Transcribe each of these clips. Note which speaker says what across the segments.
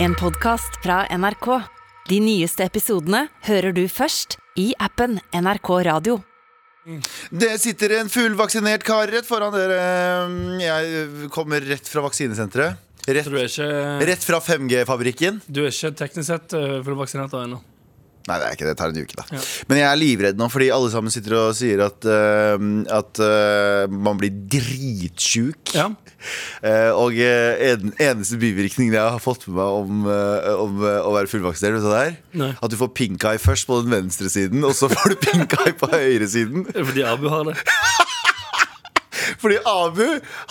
Speaker 1: En podcast fra NRK. De nyeste episodene hører du først i appen NRK Radio.
Speaker 2: Det sitter en fullvaksinert kar rett foran dere. Jeg kommer rett fra vaksinesenteret. Rett,
Speaker 3: Så du er ikke,
Speaker 2: rett fra 5G-fabrikken.
Speaker 3: du er ikke teknisk sett eh, fullvaksinert da ennå?
Speaker 2: Nei, det er ikke det. Det tar en uke, da.
Speaker 3: Ja.
Speaker 2: Men jeg er livredd nå, fordi alle sammen sitter og sier at, eh, at eh, man blir dritsjuk.
Speaker 3: Ja.
Speaker 2: Eh, og eh, en, eneste bivirkning jeg har fått med meg om, eh, om eh, å være fullvaksinert, vet du hva det er?
Speaker 3: Nei.
Speaker 2: At du får pink eye først på den venstre siden, og så får du pink eye på høyresiden.
Speaker 3: Det er Fordi Abu har det.
Speaker 2: Fordi Abu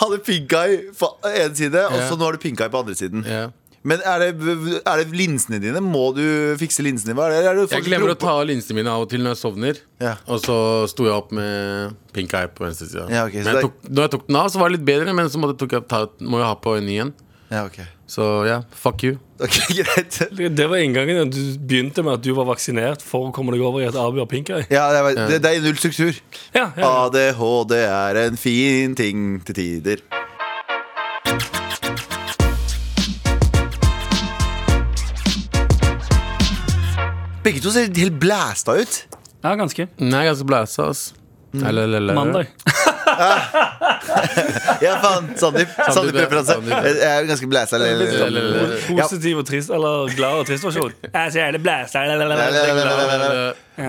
Speaker 2: hadde pink eye på en side, og så
Speaker 4: Ja.
Speaker 2: nå har du pink eye på andre siden.
Speaker 4: Ja.
Speaker 2: Men er det, er det linsene dine? Må du fikse linsene? Hva er det? Er det
Speaker 4: Jeg glemmer å ta av linsene mine av og til når jeg sovner.
Speaker 2: Ja.
Speaker 4: Og så sto jeg opp med pink eye på venstre side.
Speaker 2: Ja, ok, så
Speaker 4: men
Speaker 2: det-
Speaker 4: jeg tok, når jeg tok den av, så var det litt bedre, men så måtte jeg tok jeg ta, må jeg ha på en ny en.
Speaker 2: Ja, ok.
Speaker 4: Så ja, fuck you.
Speaker 2: Ok, greit.
Speaker 3: Det var inngangen. Du begynte med at du var vaksinert for å komme deg over i at Abu har pink eye.
Speaker 2: Ja, det, er, det, det er null struktur.
Speaker 3: Ja, ja.
Speaker 2: ADHD er en fin ting til tider. Begge to ser helt blæsta ut.
Speaker 3: ja ganske.
Speaker 4: Nei, jeg er ganske blæsa, ass. Mm. Eller, eller, eller.
Speaker 3: Mandag.
Speaker 2: Ja, faen. Sandeep. Sandeep-referanse.
Speaker 4: Sandeep.
Speaker 2: Jeg er ganske blæsta.
Speaker 3: Eh,
Speaker 4: Eller, eller, eller.
Speaker 3: sånn Positiv og trist, eller glad og trist versjon. Jeg er så jævlig blæsta. Jeg er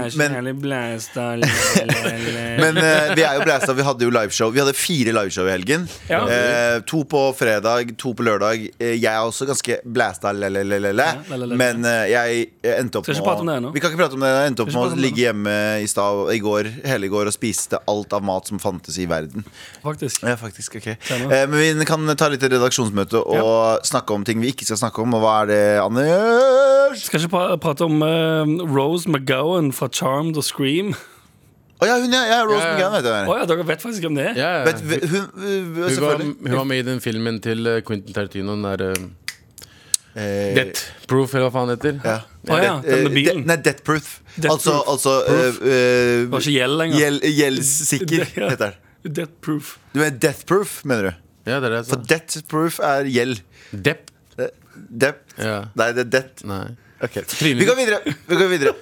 Speaker 3: så
Speaker 2: Men-
Speaker 3: jævlig blæsta.
Speaker 2: Men eh, vi er jo blæsta. Vi hadde jo liveshow. Vi hadde fire liveshow i helgen.
Speaker 3: Ja.
Speaker 2: Eh, to på fredag, to på lørdag. Eh, jeg er også ganske blæsta, le-le-le-le.
Speaker 3: Ja, le-le-le.
Speaker 2: Men eh, jeg endte opp
Speaker 3: Skal ikke prate om det ennå.
Speaker 2: Vi kan ikke prate om det. Jeg endte opp
Speaker 3: Skal
Speaker 2: med å
Speaker 3: ikke prate om det
Speaker 2: ligge hjemme i, stad, i går, hele i går og spiste alt av mat som fantes i verden.
Speaker 3: Faktisk.
Speaker 2: Ja, faktisk, ok eh,
Speaker 3: Stemmer.
Speaker 2: Men vi kan ta litt redaksjonsmøte og snakke om ting vi ikke skal snakke om. Og hva er det, Anders?
Speaker 3: Skal ikke pra- prate om eh, Rose McGowan fra Charmed og Scream.
Speaker 2: Å ja, hun, ja, ja Rose
Speaker 4: Ja, ja.
Speaker 2: McGann, vet du.
Speaker 3: Å ja, dere vet faktisk hvem det er?
Speaker 4: Ja, ja.
Speaker 2: Vet,
Speaker 4: Hun,
Speaker 2: hun, hun,
Speaker 4: hun, var,
Speaker 2: selvfølgelig.
Speaker 4: hun var med i den filmen til eh, Quentin Tarantino, den der eh,
Speaker 2: Eh,
Speaker 4: Death Proof, eller hva faen det heter.
Speaker 2: Ja.
Speaker 3: Å ja, den med
Speaker 2: Eh,
Speaker 3: bilen.
Speaker 2: de- Nei, Death Proof.
Speaker 3: Death
Speaker 2: altså
Speaker 3: Proof.
Speaker 2: altså
Speaker 3: Proof.
Speaker 2: eh, eh,
Speaker 3: Det var ikke gjeld lenger.
Speaker 2: gjeld- Gjeldssikker,
Speaker 3: Det- ja.
Speaker 2: heter den.
Speaker 3: Death Proof.
Speaker 2: Du er Death Proof, mener du?
Speaker 4: Ja, det altså. er det jeg
Speaker 2: For
Speaker 4: sa.
Speaker 2: Death Proof er gjeld.
Speaker 4: Depp.
Speaker 2: Eh, Depp
Speaker 4: Ja.
Speaker 2: Nei, det er Death.
Speaker 4: Nei.
Speaker 2: Ok.
Speaker 4: Trine.
Speaker 2: Vi går videre. Vi går videre.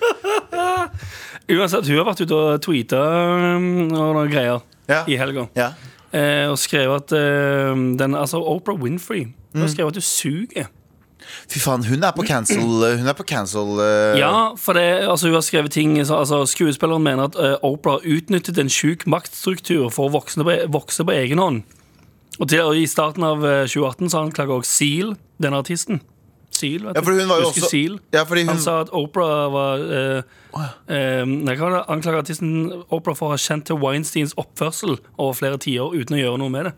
Speaker 3: Uansett, hun har vært ute og tweeta um, og noen greier
Speaker 2: Ja.
Speaker 3: i helga.
Speaker 2: Ja.
Speaker 3: Eh, og skrev at eh, den, altså Oprah Winfrey
Speaker 2: Mm.
Speaker 3: Hun skrev at du suger.
Speaker 2: Eh. Fy faen, hun er på cancel. Hun er på cancel eh,
Speaker 3: Ja, for det, altså, hun har skrevet ting så, altså, Skuespilleren mener at eh, Oprah utnyttet en sjuk maktstruktur for å vokse på, vokse på egen hånd. Og, til, og I starten av eh, 2018 så anklaga også Seal, denne artisten. Seal, vet du.
Speaker 2: Ja, for hun var jo
Speaker 3: Husker
Speaker 2: også-
Speaker 3: Seal?
Speaker 2: Ja, fordi hun-
Speaker 3: Han sa at Oprah var eh, eh, Nei, hva var det? Anklaga artisten Oprah for å ha kjent til Weinsteins oppførsel over flere tiår uten å gjøre noe med det.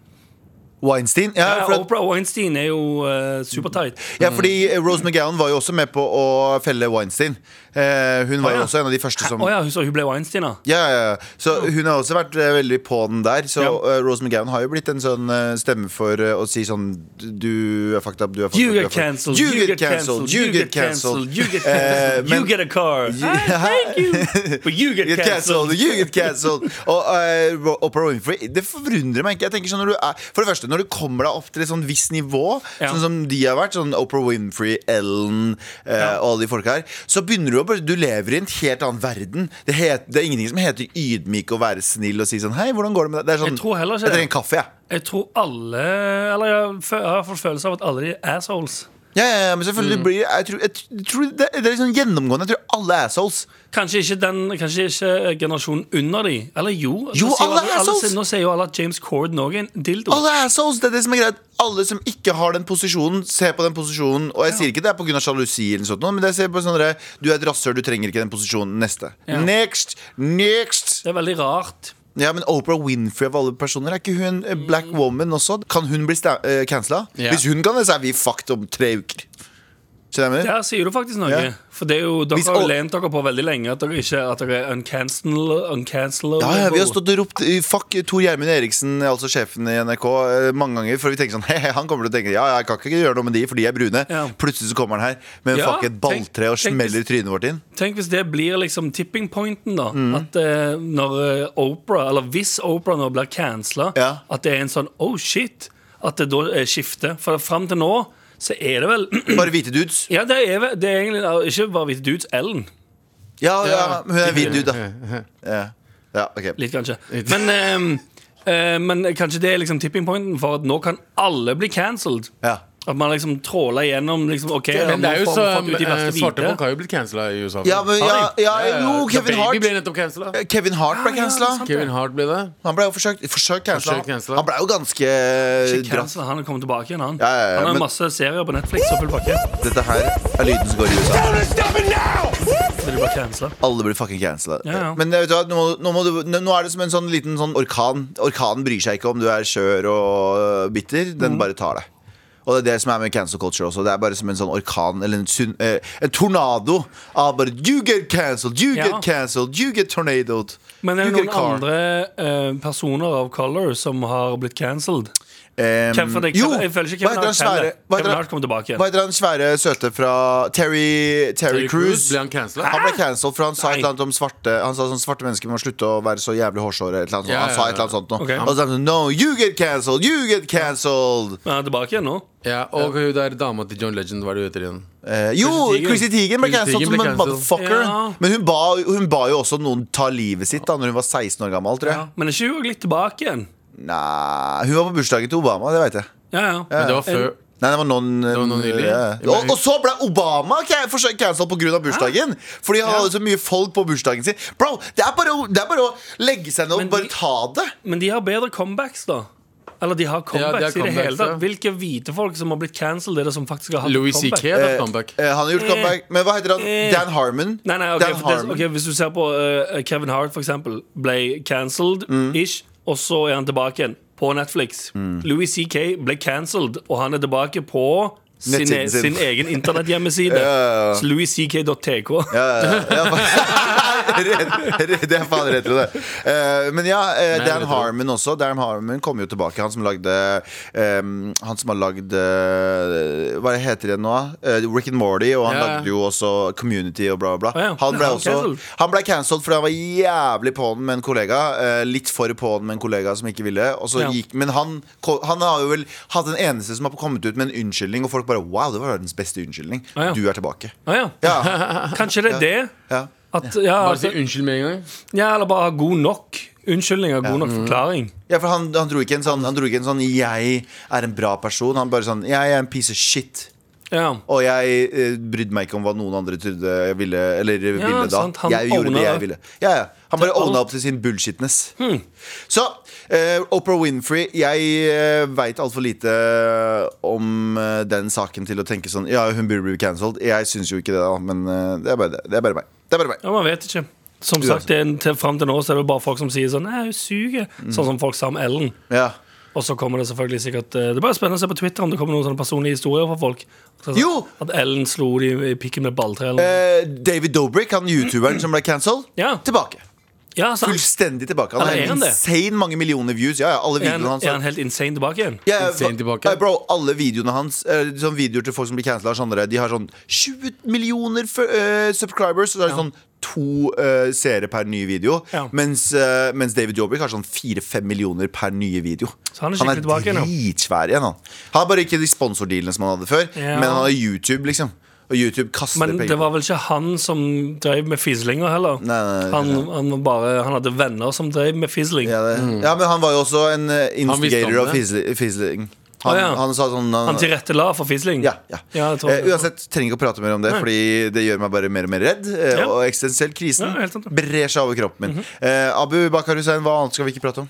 Speaker 2: Weinstein. Ja,
Speaker 3: Ja,
Speaker 2: for at,
Speaker 3: Oprah Weinstein er jo eh, supertight.
Speaker 2: ja, fordi eh, Rose McGowan var jo også med på å felle Weinstein. Eh, hun var
Speaker 3: Å,
Speaker 2: jo
Speaker 3: ja.
Speaker 2: også en av de første
Speaker 3: Å
Speaker 2: som
Speaker 3: ja, hun, så hun ble Weinstein, da.
Speaker 2: Ja, ja, ja. Så hun har også vært eh, veldig på den der. Så
Speaker 3: Ja.
Speaker 2: eh, Rose McGowan har jo blitt en sånn eh, stemme for eh, å si sånn Du er fucked up, du er fucked
Speaker 3: You
Speaker 2: up.
Speaker 3: get cancelled,
Speaker 2: you get cancelled, you get cancelled.
Speaker 3: you get
Speaker 2: Eh,
Speaker 3: cancelled,
Speaker 2: men-
Speaker 3: you get a car.
Speaker 2: Ja.
Speaker 3: I thank you, but you
Speaker 2: You
Speaker 3: get
Speaker 2: get cancelled,
Speaker 3: cancelled.
Speaker 2: you get cancelled. Og eh, Ro- Oprah Winfrey Det forundrer meg ikke. Jeg tenker sånn når du er, For det første, når du kommer deg opp til et sånn visst nivå,
Speaker 3: Ja.
Speaker 2: sånn som de har vært, sånn Oprah Winfrey, Ellen eh, og alle de folka her, så begynner du å bare Du lever i en helt annen verden. Det, het, det er ingenting som heter ydmyk og være snill og si sånn Hei, hvordan går det med deg? Det er sånn
Speaker 3: Jeg tror heller ikke
Speaker 2: Jeg
Speaker 3: det.
Speaker 2: trenger en kaffe, jeg.
Speaker 3: Jeg tror alle Eller jeg har fø- jeg har fått følelse av at alle de er assholes.
Speaker 2: Ja, ja, ja, men selvfølgelig
Speaker 3: Mm.
Speaker 2: blir jeg tror, jeg tror det, det er litt sånn gjennomgående. Jeg tror alle er assholes.
Speaker 3: Kanskje ikke, den, kanskje ikke eh, generasjonen under de Eller jo. nå
Speaker 2: Jo,
Speaker 3: sier jo
Speaker 2: alle er assholes.
Speaker 3: sier- Nå sier jo alle at James Corden òg er en dildo.
Speaker 2: Alle er assholes, det er det som er greit Alle som ikke har den posisjonen, ser på den posisjonen. Og jeg sier ikke det er pga. sjalusi, eller noe sånt, men jeg ser på sånn derre, du er et rasshøl, du trenger ikke den posisjonen. Neste.
Speaker 3: Ja.
Speaker 2: Next! Next!
Speaker 3: Det er veldig rart.
Speaker 2: Ja, Men Oprah Winfrey av alle personer, er ikke hun eh, black woman også? Kan hun bli sta- eh, cancela?
Speaker 4: Ja.
Speaker 2: Hvis hun kan det, så er vi fucked om tre uker. Skjønner du hva jeg mener?
Speaker 3: Der sier du faktisk noe.
Speaker 2: Ja.
Speaker 3: For det er jo, dere
Speaker 2: Hvis
Speaker 3: har
Speaker 2: alle-
Speaker 3: jo lent dere på veldig lenge at dere, ikke, at dere er uncancel- uncancelable.
Speaker 2: Ja, ja, vi har stått og ropt eh, 'fuck Tor Gjermund Eriksen', altså sjefen i NRK, eh, mange ganger. For vi tenker sånn He-he, han kommer til å tenke Ja, jeg kan ikke gjøre noe med de, for de er brune.
Speaker 3: Ja.
Speaker 2: Plutselig så kommer han her med en
Speaker 3: Ja,
Speaker 2: fuck et
Speaker 3: tenk-
Speaker 2: balltre og
Speaker 3: tenk-
Speaker 2: smeller trynet vårt inn.
Speaker 3: Tenk hvis det blir liksom tipping pointen, da.
Speaker 2: Mm.
Speaker 3: At eh, når eh, Oprah, eller hvis Oprah nå blir cancela,
Speaker 2: Ja.
Speaker 3: at det er en sånn oh shit. At det da eh, skifter. For fram til nå så er det vel
Speaker 2: Bare hvite dudes.
Speaker 3: Ja, det er, vel- det er egentlig ikke bare hvite dudes. Ellen.
Speaker 2: Ja, ja, men hun er hvit dude, da. Ja. ja, ok
Speaker 3: Litt, kanskje. Men, ehm, eh, men kanskje det er liksom tipping pointen for at nå kan alle bli cancelled.
Speaker 2: ja.
Speaker 3: At man liksom tråler gjennom liksom, OK, ja,
Speaker 4: Men det er
Speaker 3: nå
Speaker 4: jo
Speaker 3: får
Speaker 4: så
Speaker 3: vi fått ut de
Speaker 4: eh,
Speaker 3: verste
Speaker 4: Svarte
Speaker 3: hvite.
Speaker 4: folk har jo blitt cancela i USA.
Speaker 2: Ja, men, ja, ja, jo,
Speaker 4: The
Speaker 2: Kevin
Speaker 4: Baby ble
Speaker 2: Hart.
Speaker 4: nettopp cancela.
Speaker 2: Kevin Hart ble cancela.
Speaker 4: Kevin Hart ble det.
Speaker 2: Han ble jo forsøkt, forsøkt cancela.
Speaker 4: Forsøkt cancela.
Speaker 2: Han ble jo ganske
Speaker 4: Eh,
Speaker 3: Ikke
Speaker 2: dratt.
Speaker 3: cancel, han kommer tilbake igjen, han.
Speaker 2: Ja, ja, ja,
Speaker 3: han har
Speaker 2: men-
Speaker 3: jo masse serier på Netflix og full pakke.
Speaker 2: Dette her er lyden som går i USA.
Speaker 3: Så de bare canceler.
Speaker 2: Alle blir fucking cancela.
Speaker 3: Ja, ja.
Speaker 2: Men eh, vet du, hva, nå, må, nå, må du, nå nå er det som en sånn liten sånn orkan. Orkanen bryr seg ikke om du er skjør og eh, bitter. Den
Speaker 3: Mm.
Speaker 2: bare tar deg. Og det er det som er med cancel culture også. Det er bare som en sånn orkan eller en, syn- eh, en tornado av bare You get cancelled, you
Speaker 3: Ja.
Speaker 2: get cancelled, you get tornadoed.
Speaker 3: Men er
Speaker 2: you
Speaker 3: det noen
Speaker 2: get car."
Speaker 3: andre eh, personer av color som har blitt cancelled?
Speaker 2: Em,
Speaker 3: Hvem for deg?
Speaker 2: Ehm, jo,
Speaker 3: Jeg føler ikke
Speaker 2: hva
Speaker 3: Kevin
Speaker 2: heter han
Speaker 3: Hart
Speaker 2: svære
Speaker 3: heller.
Speaker 2: Hva
Speaker 3: Kevin
Speaker 2: heter
Speaker 3: Hart
Speaker 2: han-
Speaker 3: kommer tilbake
Speaker 2: hva
Speaker 3: igjen.
Speaker 2: heter han svære søte fra Terry, Terry,
Speaker 4: Terry
Speaker 2: Cruise?
Speaker 4: Crews, ble han cancela?
Speaker 2: Han ble cancelled, for han sa
Speaker 3: Nei.
Speaker 2: et eller annet om svarte Han sa sånn svarte mennesker må slutte å være så jævlig hårsåre. Et eller annet sånt.
Speaker 4: Ja,
Speaker 2: Han sa
Speaker 4: ja,
Speaker 2: et eller annet sånt nå.
Speaker 3: Ok.
Speaker 2: Og så sa han sånn No, you get cancelled! You get cancelled!
Speaker 3: Men han er tilbake igjen nå.
Speaker 4: Ja, og hun der dama til John Legend, hva er det hun heter igjen?
Speaker 2: Eh, jo,
Speaker 3: Chrissy Teigen.
Speaker 2: Chrissy Teigen ble
Speaker 4: Chrissy
Speaker 2: cancelled som
Speaker 4: Teigen
Speaker 2: en
Speaker 4: ble cancelled.
Speaker 2: motherfucker.
Speaker 3: Ja.
Speaker 2: Men hun ba, hun ba jo også noen ta livet sitt da Når hun var 16 år gammel, tror jeg.
Speaker 3: Ja. Men er ikke hun også litt tilbake igjen?
Speaker 2: Nei, hun var på bursdagen til Obama, det veit jeg.
Speaker 3: Ja, ja.
Speaker 4: Men det var før
Speaker 2: Nei, det var noen,
Speaker 4: var noen nylig.
Speaker 2: ja. og, og så ble Obama ca- forsøkt cancelled pga. bursdagen! Fordi han hadde så mye folk på bursdagen sin. Bro, det er bare, å- det er bare å legge seg ned og
Speaker 3: Men
Speaker 2: bare
Speaker 3: de-
Speaker 2: ta det.
Speaker 3: Men de har bedre comebacks, da. Eller de har
Speaker 4: de har
Speaker 3: comebacks i det
Speaker 4: comebacks,
Speaker 3: hele
Speaker 4: ja.
Speaker 3: tatt. Hvilke hvite folk som har blitt cancelled, er det som faktisk har hatt
Speaker 4: Louis
Speaker 3: comeback?
Speaker 4: C.K. hadde comeback.
Speaker 2: Eh, han har gjort comeback. Men hva heter han?
Speaker 3: eh.
Speaker 2: Dan Harmon.
Speaker 3: Nei, nei, ok,
Speaker 2: Dan
Speaker 3: for det,
Speaker 2: Harmon.
Speaker 3: ok, Hvis du ser på eh, Kevin Hart, for eksempel, ble cancelled ish, og så er han tilbake igjen på Netflix. Louis C.K. ble cancelled, og han er tilbake på sin, e-
Speaker 2: Nettsiden sin.
Speaker 3: sin egen internetthjemmeside.
Speaker 2: ja, ja.
Speaker 3: Så LouisCK.tk.
Speaker 2: Redd- det er faen rett og det. Eh, men ja, eh,
Speaker 4: Nei,
Speaker 2: Dan
Speaker 4: retro.
Speaker 2: Harmon også. Dan Harmon kom jo tilbake. Han som lagde eh, Han som har lagd eh, Hva heter det nå? Eh, Rick and Morty, og han
Speaker 4: Ja, ja.
Speaker 2: lagde jo også Community og bla, bla,
Speaker 3: Å
Speaker 2: bla.
Speaker 3: ja,
Speaker 2: Han ble
Speaker 3: han
Speaker 2: også
Speaker 3: cancelled.
Speaker 2: Han ble cancelled fordi han var jævlig på den med en kollega. eh, litt for på den med en kollega som ikke ville. Og så
Speaker 3: Ja.
Speaker 2: gikk, men han, ko- han har jo vel hatt den eneste som har kommet ut med en unnskyldning, og folk bare Wow, det var verdens beste unnskyldning.
Speaker 3: Å ja.
Speaker 2: Du er tilbake.
Speaker 3: Ah, ja.
Speaker 2: Ja.
Speaker 3: Kanskje det er det?
Speaker 2: ja.
Speaker 3: At, ja,
Speaker 4: Bare
Speaker 3: at,
Speaker 4: si unnskyld med en gang.
Speaker 3: ja, eller bare ha god nok unnskyldninger, god nok forklaring.
Speaker 2: Ja, for han, han, dro ikke en sånn, han dro ikke en sånn 'jeg er en bra person'. Han bare sånn 'jeg er en piece of shit'.
Speaker 3: Ja.
Speaker 2: Og jeg eh, brydde meg ikke om hva noen andre trodde jeg ville. Eller ville da
Speaker 3: sant, han
Speaker 2: Jeg gjorde
Speaker 3: owna
Speaker 2: det jeg
Speaker 3: det.
Speaker 2: ville. Ja, ja. Han bare
Speaker 3: Til alt.
Speaker 2: owna opp til sin bullshitness.
Speaker 3: Hmm.
Speaker 2: Så eh, Oprah Winfrey Jeg eh, veit altfor lite om eh, den saken til å tenke sånn Ja, hun burde bli cancelled. Jeg syns jo ikke det, da, men eh, det, er bare det. det er bare meg. Det er bare meg.
Speaker 3: Ja, man vet ikke. Som sagt, det er, en- til, frem til nå så er det jo bare folk som sier sånn Nei, hun suger.
Speaker 2: Mm.
Speaker 3: Sånn som folk sa om Ellen.
Speaker 2: Ja.
Speaker 3: Og så kommer det selvfølgelig sikkert eh, Det blir spennende å se på Twitter om det kommer noen sånne personlige historier fra folk. Så-
Speaker 2: Jo!
Speaker 3: At Ellen slo de i pikken med et balltre. eller noe.
Speaker 2: Eh, David Dobrik, han youtuberen som ble cancelled,
Speaker 3: Ja.
Speaker 2: tilbake.
Speaker 3: Ja, altså, sant.
Speaker 2: Fullstendig tilbake. Han
Speaker 3: Ja, det
Speaker 2: har
Speaker 3: er han det.
Speaker 2: insane mange millioner views. Ja, ja, alle
Speaker 3: Er han,
Speaker 2: videoene hans
Speaker 3: er han helt insane tilbake igjen?
Speaker 2: Ja, ja,
Speaker 4: Insane
Speaker 2: fa-
Speaker 4: tilbake.
Speaker 2: Nei, Bro, alle videoene hans eh, sånn Videoer til folk som blir cancela sånne, De har sånn 20 millioner fø- eh, subscribers Så det er sånn to eh, seere per nye video
Speaker 3: Ja.
Speaker 2: mens, eh, mens David Jobrik har sånn 4-5 millioner per nye video
Speaker 3: Så han er skikkelig tilbake igjen, ja.
Speaker 2: dritsvær igjen han. han har bare ikke de sponsordealene som han hadde før
Speaker 3: Ja.
Speaker 2: Men han har YouTube liksom Og YouTube kaster
Speaker 3: Men
Speaker 2: penger
Speaker 3: det var
Speaker 2: på
Speaker 3: vel ikke han som drev med fislinger heller.
Speaker 2: Nei, nei, nei,
Speaker 3: han,
Speaker 2: nei.
Speaker 3: han, var bare, han hadde venner som drev med fisling.
Speaker 2: ja, det. ja, men han var jo også en eh,
Speaker 4: Han visste om
Speaker 2: instigator av
Speaker 4: det.
Speaker 2: fizzling fizzling. han,
Speaker 3: Å, ja.
Speaker 2: han sa sånn han-
Speaker 3: Han tilrettela for fisling.
Speaker 2: Ja, ja.
Speaker 3: jeg tror det.
Speaker 2: eh, uansett, trenger ikke å prate mer om det,
Speaker 3: Nei.
Speaker 2: fordi det gjør meg bare mer og mer redd. Eh,
Speaker 3: Ja.
Speaker 2: Og eksistensiell krisen
Speaker 3: Ja, helt sant, ja. Mhm.
Speaker 2: brer seg over kroppen min. eh, Abu Bakar Hussein, hva annet skal vi ikke prate om?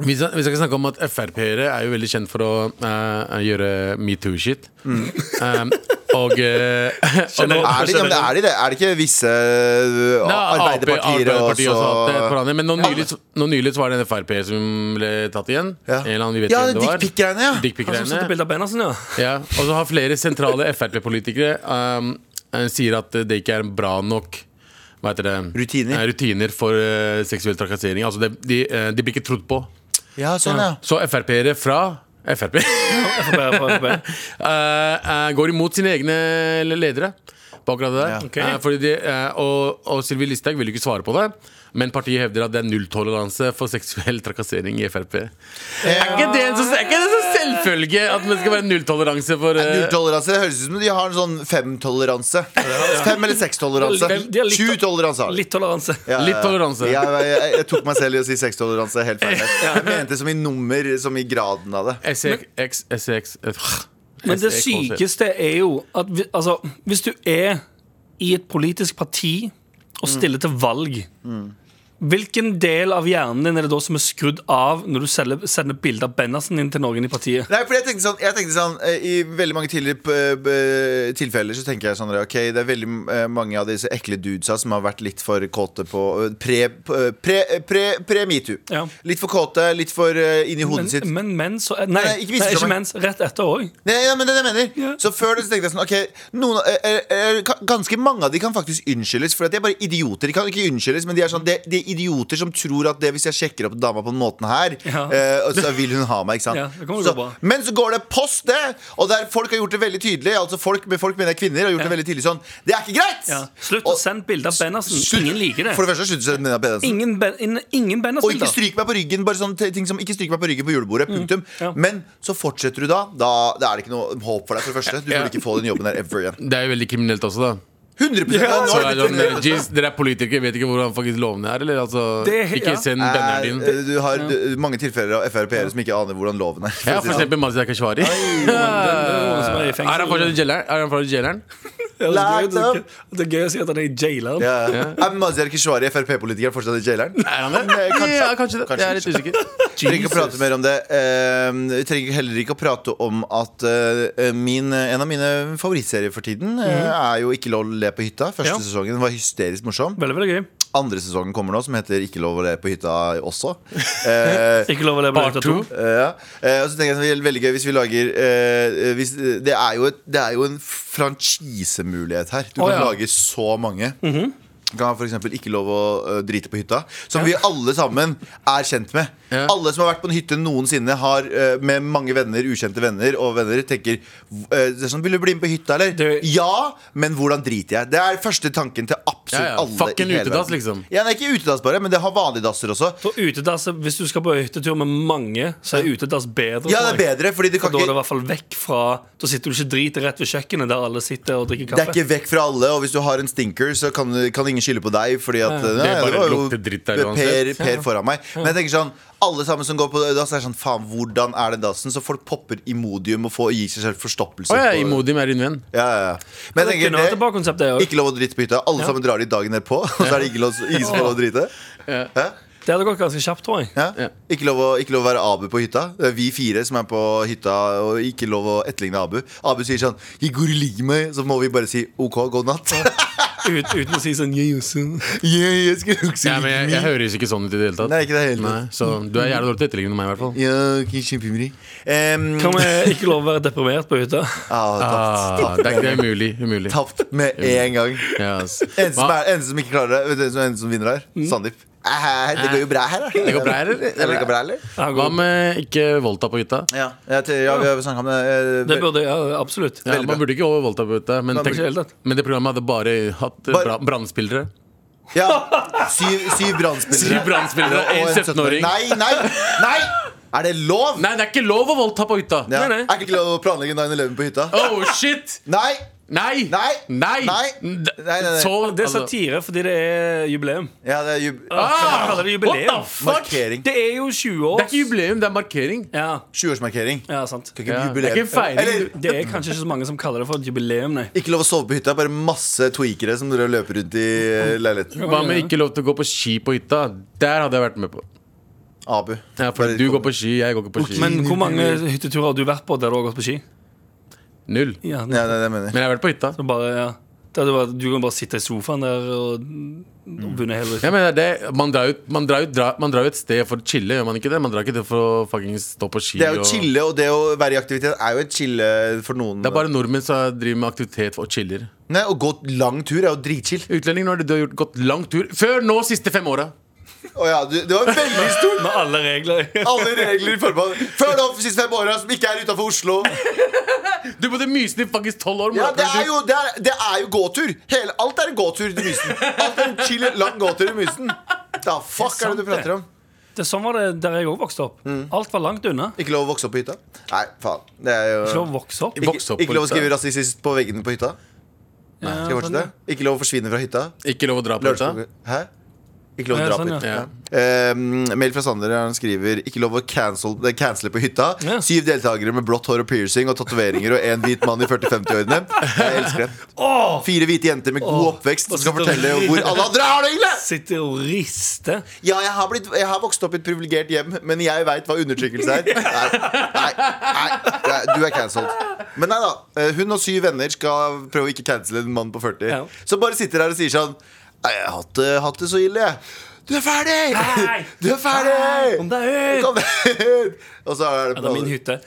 Speaker 4: Vi skal, vi skal snakke om at Frp-ere er jo veldig kjent for å eh, gjøre metoo-shit.
Speaker 2: Mm.
Speaker 4: Um, og eh, og nå-
Speaker 2: Er det, ja, men er, de det? er det ikke visse eh,
Speaker 4: Nei,
Speaker 2: arbeiderpartier
Speaker 4: Ap- Arbeiderpartiet også hatt det
Speaker 2: også
Speaker 4: foran det, Men nå nylig, nå nylig så var det en Frp som ble tatt igjen.
Speaker 2: Ja.
Speaker 4: En eller annen, vi vet
Speaker 2: Ja,
Speaker 4: ikke
Speaker 2: det
Speaker 4: hvem det var.
Speaker 2: dickpic-greiene, ja.
Speaker 3: Han som sendte
Speaker 4: Dickpic-greiene.
Speaker 3: bilde av beina sine, ja.
Speaker 4: Ja. Og så har flere sentrale Frp-politikere um, eh, sier at det ikke er bra nok hva heter det?
Speaker 2: Rutiner.
Speaker 4: Eh, Rutiner for eh, seksuell trakassering. Altså, de, de, eh, de blir ikke trodd på.
Speaker 2: Ja, sånn, ja.
Speaker 4: Så Frp-ere fra Frp
Speaker 3: FrP, FrP.
Speaker 4: Eh, eh, går imot sine egne ledere på akkurat det der.
Speaker 2: Ja.
Speaker 3: Ok.
Speaker 4: Eh, fordi de, eh, og, og Sylvi Listhaug vil jo ikke svare på det. Men partiet hevder at det er nulltoleranse for seksuell trakassering i Frp. Er ikke det en som- er ikke det som selvfølge at det skal være nulltoleranse for eh,
Speaker 2: Nulltoleranse det høres ut som de har en sånn femtoleranse. Fem- eller sekstoleranse.
Speaker 3: Fem- de har litt-
Speaker 2: Sjutoleranse har de.
Speaker 3: Litt toleranse.
Speaker 2: Ja, ja,
Speaker 4: Litt
Speaker 2: ja.
Speaker 4: toleranse.
Speaker 2: Ja, jeg, jeg, jeg tok meg selv i å si sekstoleranse helt feil. Jeg mente som i nummer, som i graden av det.
Speaker 4: SX, SX
Speaker 3: Men
Speaker 2: E
Speaker 3: det sykeste er jo at vi, altså, hvis du er i et politisk parti
Speaker 2: Mm.
Speaker 3: og stiller til valg Hvilken del av hjernen din er det da som er skrudd av når du selger, sender bilde av Bennersen inn til noen i partiet?
Speaker 2: Nei, for jeg tenkte sånn, jeg tenkte sånn eh, I veldig mange tidligere p- b- tilfeller så tenker jeg sånn Ok, det er veldig eh, mange av disse ekle dudesa som har vært litt for kåte på eh, Pre, pre, pre, eh, pre, pre metoo.
Speaker 3: Ja.
Speaker 2: Litt for kåte, litt for eh, inni
Speaker 3: Men,
Speaker 2: hodet sitt.
Speaker 3: men mens og, Nei,
Speaker 2: Nei,
Speaker 3: nei,
Speaker 2: ikke
Speaker 3: ikke,
Speaker 2: visstnok.
Speaker 3: mens. Rett etter òg.
Speaker 2: Nei, ja, men det er det jeg mener
Speaker 3: Ja.
Speaker 2: Så før det så tenkte jeg sånn Ok, noen, eh, eh, ka- ganske mange av de kan faktisk unnskyldes For at de er bare idioter De kan ikke unnskyldes Men de er, sånn, de, de er idioter som tror at det Hvis jeg sjekker opp dama på den måten her
Speaker 3: Ja.
Speaker 2: eh, og Så vil hun ha meg, ikke sant?
Speaker 3: Ja, det kommer til å gå
Speaker 2: så,
Speaker 3: bra.
Speaker 2: men så går det post det Og der folk har gjort det veldig tydelig Altså folk, med folk mener jeg kvinner Har gjort det veldig tydelig sånn Det er ikke greit!
Speaker 3: Ja. Slutt å
Speaker 2: Og-
Speaker 3: sende bilde av Bennersen.
Speaker 2: Slutt-
Speaker 3: Ingen liker det.
Speaker 2: For det første slutt å sende Nina Pedersen
Speaker 3: Ingen, ben, in- ingen
Speaker 2: og ikke
Speaker 3: Bennersen-bilder.
Speaker 2: stryk meg på ryggen. Bare sånne te- ting som ikke stryk meg på ryggen på julebordet.
Speaker 4: Mm,
Speaker 2: Punktum.
Speaker 3: ja.
Speaker 2: Men så fortsetter du da. Da da er det ikke noe håp for deg, for det første. Du
Speaker 4: Ja.
Speaker 2: burde ikke få den jobben der ever igjen.
Speaker 4: Det er jo veldig kriminelt også, da.
Speaker 2: 100
Speaker 3: Ja.
Speaker 2: Nå
Speaker 4: Så
Speaker 2: er
Speaker 4: er
Speaker 2: det
Speaker 4: det sånn, eh,
Speaker 2: litt-
Speaker 4: jeez, Dere er politikere, vet ikke hvordan faktisk lovene er, eller? Altså,
Speaker 3: Det- ja.
Speaker 4: ikke send
Speaker 2: Eh,
Speaker 4: banneren din.
Speaker 2: Du har eh, mange tilfeller av Frp-ere som ikke aner hvordan loven er. for
Speaker 4: Ja,
Speaker 2: å si
Speaker 4: for
Speaker 2: det sånn.
Speaker 4: eksempel Mazda Keshvari. Eh, Er
Speaker 3: Er
Speaker 4: han fortsatt i jaileren? Er han fortsatt i jaileren?
Speaker 2: Lagt up.
Speaker 3: Det er gøy å si at han er i jaileren.
Speaker 2: Ja. Eh, Er Mazyar Keshvari Frp-politiker fortsatt i jaileren?
Speaker 4: Er han det?
Speaker 2: Nei, kanskje.
Speaker 4: Ja, kanskje det.
Speaker 2: Kanskje,
Speaker 4: Jeg er litt usikker.
Speaker 2: Vi trenger ikke å prate mer om det. Eh, Vi trenger heller ikke å prate om at eh, min, en av mine favorittserier for tiden eh,
Speaker 4: Mm.
Speaker 2: er jo Ikke lov å le på hytta. Første
Speaker 3: Ja.
Speaker 2: sesongen var hysterisk morsom.
Speaker 3: Veldig, veldig gøy.
Speaker 2: Andre sesongen kommer nå, som heter Ikke lov å le på hytta også. Eh,
Speaker 3: Ikke lov å leve ut
Speaker 4: Part
Speaker 3: av to.
Speaker 4: two.
Speaker 2: eh, ja. eh, og så tenker jeg at det er veldig gøy hvis vi lager eh, hvis, det, er jo et, det er jo en franchisemulighet her. Du
Speaker 4: Å,
Speaker 2: kan
Speaker 4: ja.
Speaker 2: lage så mange. Du kan f.eks. ikke lov å eh, drite på hytta, som vi alle sammen er kjent med.
Speaker 4: Ja.
Speaker 2: Alle som har vært på en hytte noensinne, har eh, med mange venner, ukjente venner og venner, tenker eh, det er sånn, 'Vil du bli med på hytta, eller?'
Speaker 3: Du-
Speaker 2: Ja, men hvordan driter jeg? Det er første tanken til absolutt
Speaker 4: Ja, ja.
Speaker 2: alle. i
Speaker 4: Fucking
Speaker 2: hele
Speaker 4: utedass,
Speaker 2: verden.
Speaker 4: liksom.
Speaker 2: Ja, nei, ikke utedass bare, men det har vanlige dasser også.
Speaker 3: Så utedass, Hvis du skal på hyttetur med mange, så er utedass bedre.
Speaker 2: Ja, det
Speaker 3: tror
Speaker 2: er
Speaker 3: jeg.
Speaker 2: bedre, fordi du
Speaker 3: For
Speaker 2: kan
Speaker 3: da er det i
Speaker 2: ikke
Speaker 3: hvert fall vekk fra Da sitter du ikke drit rett ved kjøkkenet der alle sitter og drikker
Speaker 2: det er
Speaker 3: kaffe.
Speaker 2: ikke vekk fra alle, og hvis du har en stinker, så kan, kan ingen skylde på deg. Fordi at eh,
Speaker 4: det
Speaker 2: nei,
Speaker 4: bare
Speaker 2: var
Speaker 4: lukter dritt der
Speaker 2: per,
Speaker 4: uansett.
Speaker 2: per foran meg. Men jeg tenker sånn alle sammen som går på dass, er sånn faen, hvordan er den dassen? Så folk popper Imodium og får, gir seg selv forstoppelse.
Speaker 4: Å ja,
Speaker 2: på-
Speaker 4: Imodim er din venn.
Speaker 2: ja, ja, ja. Men jeg
Speaker 3: kunne vært et
Speaker 2: tenker
Speaker 3: bra
Speaker 2: det,
Speaker 3: konsept, det også.
Speaker 2: ikke lov å drite på hytta. Alle sammen drar dit dagen derpå, og så er det ikke lov, ingen som får lov å drite. Hæ?
Speaker 3: Det hadde gått ganske kjapt, tror jeg.
Speaker 2: Ja.
Speaker 4: Ja.
Speaker 2: Ikke, lov å, ikke lov å være Abu på hytta. Det er vi fire som er på hytta, og ikke lov å etterligne Abu. Abu sier sånn 'I går i like meg', så må vi bare si 'OK, god natt'.
Speaker 3: Ut, uten å si sånn «Yeah, you soon».
Speaker 2: yeah, jeg skulle også
Speaker 4: Ja, men
Speaker 2: like
Speaker 4: jeg, jeg
Speaker 2: meg.
Speaker 4: høres ikke sånn ut i det hele tatt.
Speaker 2: Nei, ikke det hele tatt.
Speaker 4: Nei, så du er jævlig dårlig til å etterligne meg, i hvert fall.
Speaker 2: Ja, ok, kjempebra. Em,
Speaker 3: Kan vi ikke lov å være deprimert på hytta?
Speaker 2: ah, tapt.
Speaker 4: Ah, det er ikke det er umulig. Umulig.
Speaker 2: tapt med en gang.
Speaker 4: Ja, ass.
Speaker 2: En som,
Speaker 4: Hva? Mm.
Speaker 2: er, en som ikke klarer det, vet du hvem som- en som vinner her? Sandeep. Eh, Det går jo bra her, da.
Speaker 4: Det går bra her, eller?
Speaker 2: Ja, det går bra, eller?
Speaker 3: Ja,
Speaker 4: Hva
Speaker 3: god.
Speaker 4: med ikke voldta på hytta?
Speaker 2: Ja, jeg tror- ja, vi har snakket om det.
Speaker 3: Det
Speaker 2: eh,
Speaker 3: burde ja, absolutt.
Speaker 4: Ja,
Speaker 2: Veldig bra.
Speaker 4: man burde ikke over voldta på hytta, men,
Speaker 2: Man
Speaker 3: burde ikke
Speaker 4: tenk,
Speaker 3: i det hele tatt.
Speaker 4: men det programmet hadde bare hatt eh,
Speaker 2: Bare-
Speaker 4: bra- brannspillere.
Speaker 2: Ja, syv, syv brannspillere.
Speaker 4: Syv brannspillere og en 17-åring.
Speaker 2: Nei, nei, nei! Er det lov?
Speaker 4: Nei, det er ikke lov å voldta på hytta!
Speaker 2: Ja.
Speaker 3: Nei, nei.
Speaker 2: Er det ikke lov å planlegge 9-11 på hytta?
Speaker 4: Oh shit!
Speaker 2: Nei!
Speaker 4: Nei!
Speaker 2: Nei!
Speaker 4: Nei!
Speaker 2: Nei!
Speaker 4: N-
Speaker 2: Nei, nei, nei.
Speaker 4: Så,
Speaker 3: Det er
Speaker 4: altså-
Speaker 3: satire fordi det er jubileum.
Speaker 2: Ja, det er jub
Speaker 3: Ah, kaller det
Speaker 4: what
Speaker 3: jubileum.
Speaker 4: the fuck? Det
Speaker 2: markering.
Speaker 3: Det er jo 20
Speaker 4: er
Speaker 3: år.
Speaker 4: ikke jubileum, det er markering.
Speaker 3: Ja,
Speaker 2: 20-årsmarkering.
Speaker 3: ja, sant.
Speaker 2: Kan ikke
Speaker 4: Ja,
Speaker 2: bli
Speaker 4: det
Speaker 2: jubileum.
Speaker 4: er ikke en feiring.
Speaker 2: Eller,
Speaker 3: Det er kanskje ikke så mange som kaller det for et jubileum, nei.
Speaker 2: ikke lov å sove på hytta. Bare masse tweakere som dere løper rundt i eh, leiligheten.
Speaker 4: Hva med ikke lov til å gå på ski på hytta? Der hadde jeg vært med på.
Speaker 2: Abu.
Speaker 4: Ja, for
Speaker 2: Bare
Speaker 4: du
Speaker 2: kom-
Speaker 4: går på ski, jeg går ikke på ski.
Speaker 3: Men hvor mange hytteturer har du vært på der du har gått på ski?
Speaker 4: Null.
Speaker 3: Ja,
Speaker 2: Ja, det er det jeg mener.
Speaker 4: Men jeg har vært på hytta.
Speaker 3: Så bare, ja. Det hadde vært- du kan bare sitte i sofaen der og
Speaker 2: Mm.
Speaker 3: og vunnet hele
Speaker 4: Jeg mener det, man drar ut- man drar ut dra- man drar jo et sted for å chille, gjør man ikke det? Man drar ikke det for å fucking stå på ski.
Speaker 2: Det er jo
Speaker 4: og-
Speaker 2: chille, og det å være i aktivitet er jo et chille for noen.
Speaker 4: det er bare nordmenn som driver med aktivitet og chiller.
Speaker 2: Nei, Å gå lang tur er jo dritchill.
Speaker 4: Utlendinger, nå har du- du har gjort gått lang tur. Før nå, siste fem åra.
Speaker 2: Å ja, du, det var veldig stort!
Speaker 3: Med alle regler.
Speaker 2: Alle regler i forbehold. Før de siste fem åra som ikke er utafor Oslo.
Speaker 4: Du bodde i Mysen i faktisk tolv år.
Speaker 2: Ja,
Speaker 4: Morten.
Speaker 2: det er jo, det er, det er jo gåtur. Hele, alt er en gåtur til Mysen. Alt er en chill, lang gåtur i Mysen. Da fuck er det du prater om?
Speaker 3: Det, sånn var det der jeg òg vokste opp.
Speaker 2: Mm.
Speaker 3: Alt var langt unna.
Speaker 2: Ikke lov å vokse opp på hytta? Nei, faen. Det er jo
Speaker 3: Ikke lov å vokse opp.
Speaker 2: Ikke,
Speaker 4: Vokse opp på
Speaker 2: ikke lov å
Speaker 4: hytta.
Speaker 2: skrive rasistisk på veggene på hytta? Skal jeg
Speaker 3: sånn,
Speaker 2: fortsette? Ikke lov å forsvinne fra hytta?
Speaker 4: Ikke lov å dra på hytta.
Speaker 2: Lørenskog Hæ? Ikke lov å
Speaker 3: Ja,
Speaker 2: dra
Speaker 3: sånn,
Speaker 2: på hytta.
Speaker 4: ja.
Speaker 2: Eh, mail fra Sander han skriver Ikke lov å cancel, eh, cancele på hytta.
Speaker 3: Ja.
Speaker 2: Syv deltakere med blått hår og piercing og tatoveringer og en hvit mann i 40-50-årene. Jeg elsker det. Fire hvite jenter med god
Speaker 3: Åh.
Speaker 2: oppvekst som skal
Speaker 3: Hva sitter
Speaker 2: fortelle
Speaker 3: du-
Speaker 2: hvor alle andre har det! egentlig
Speaker 3: Sitter og rister.
Speaker 2: Ja, jeg har, blitt, jeg har vokst opp i et privilegert hjem, men jeg veit hva undertrykkelse er. Nei, nei, nei, nei, du er cancelled. Men nei da. eh, Hun og syv venner skal prøve å ikke cancele en mann på 40.
Speaker 3: Ja.
Speaker 2: Som bare sitter her og sier sånn Nei, jeg har hatt det, hatt det så ille, jeg. Du er ferdig!
Speaker 3: Hei!
Speaker 2: Du er ferdig!
Speaker 3: Kom deg ut!
Speaker 2: Kom ut! Og så er det
Speaker 3: Ja, det er min hytte.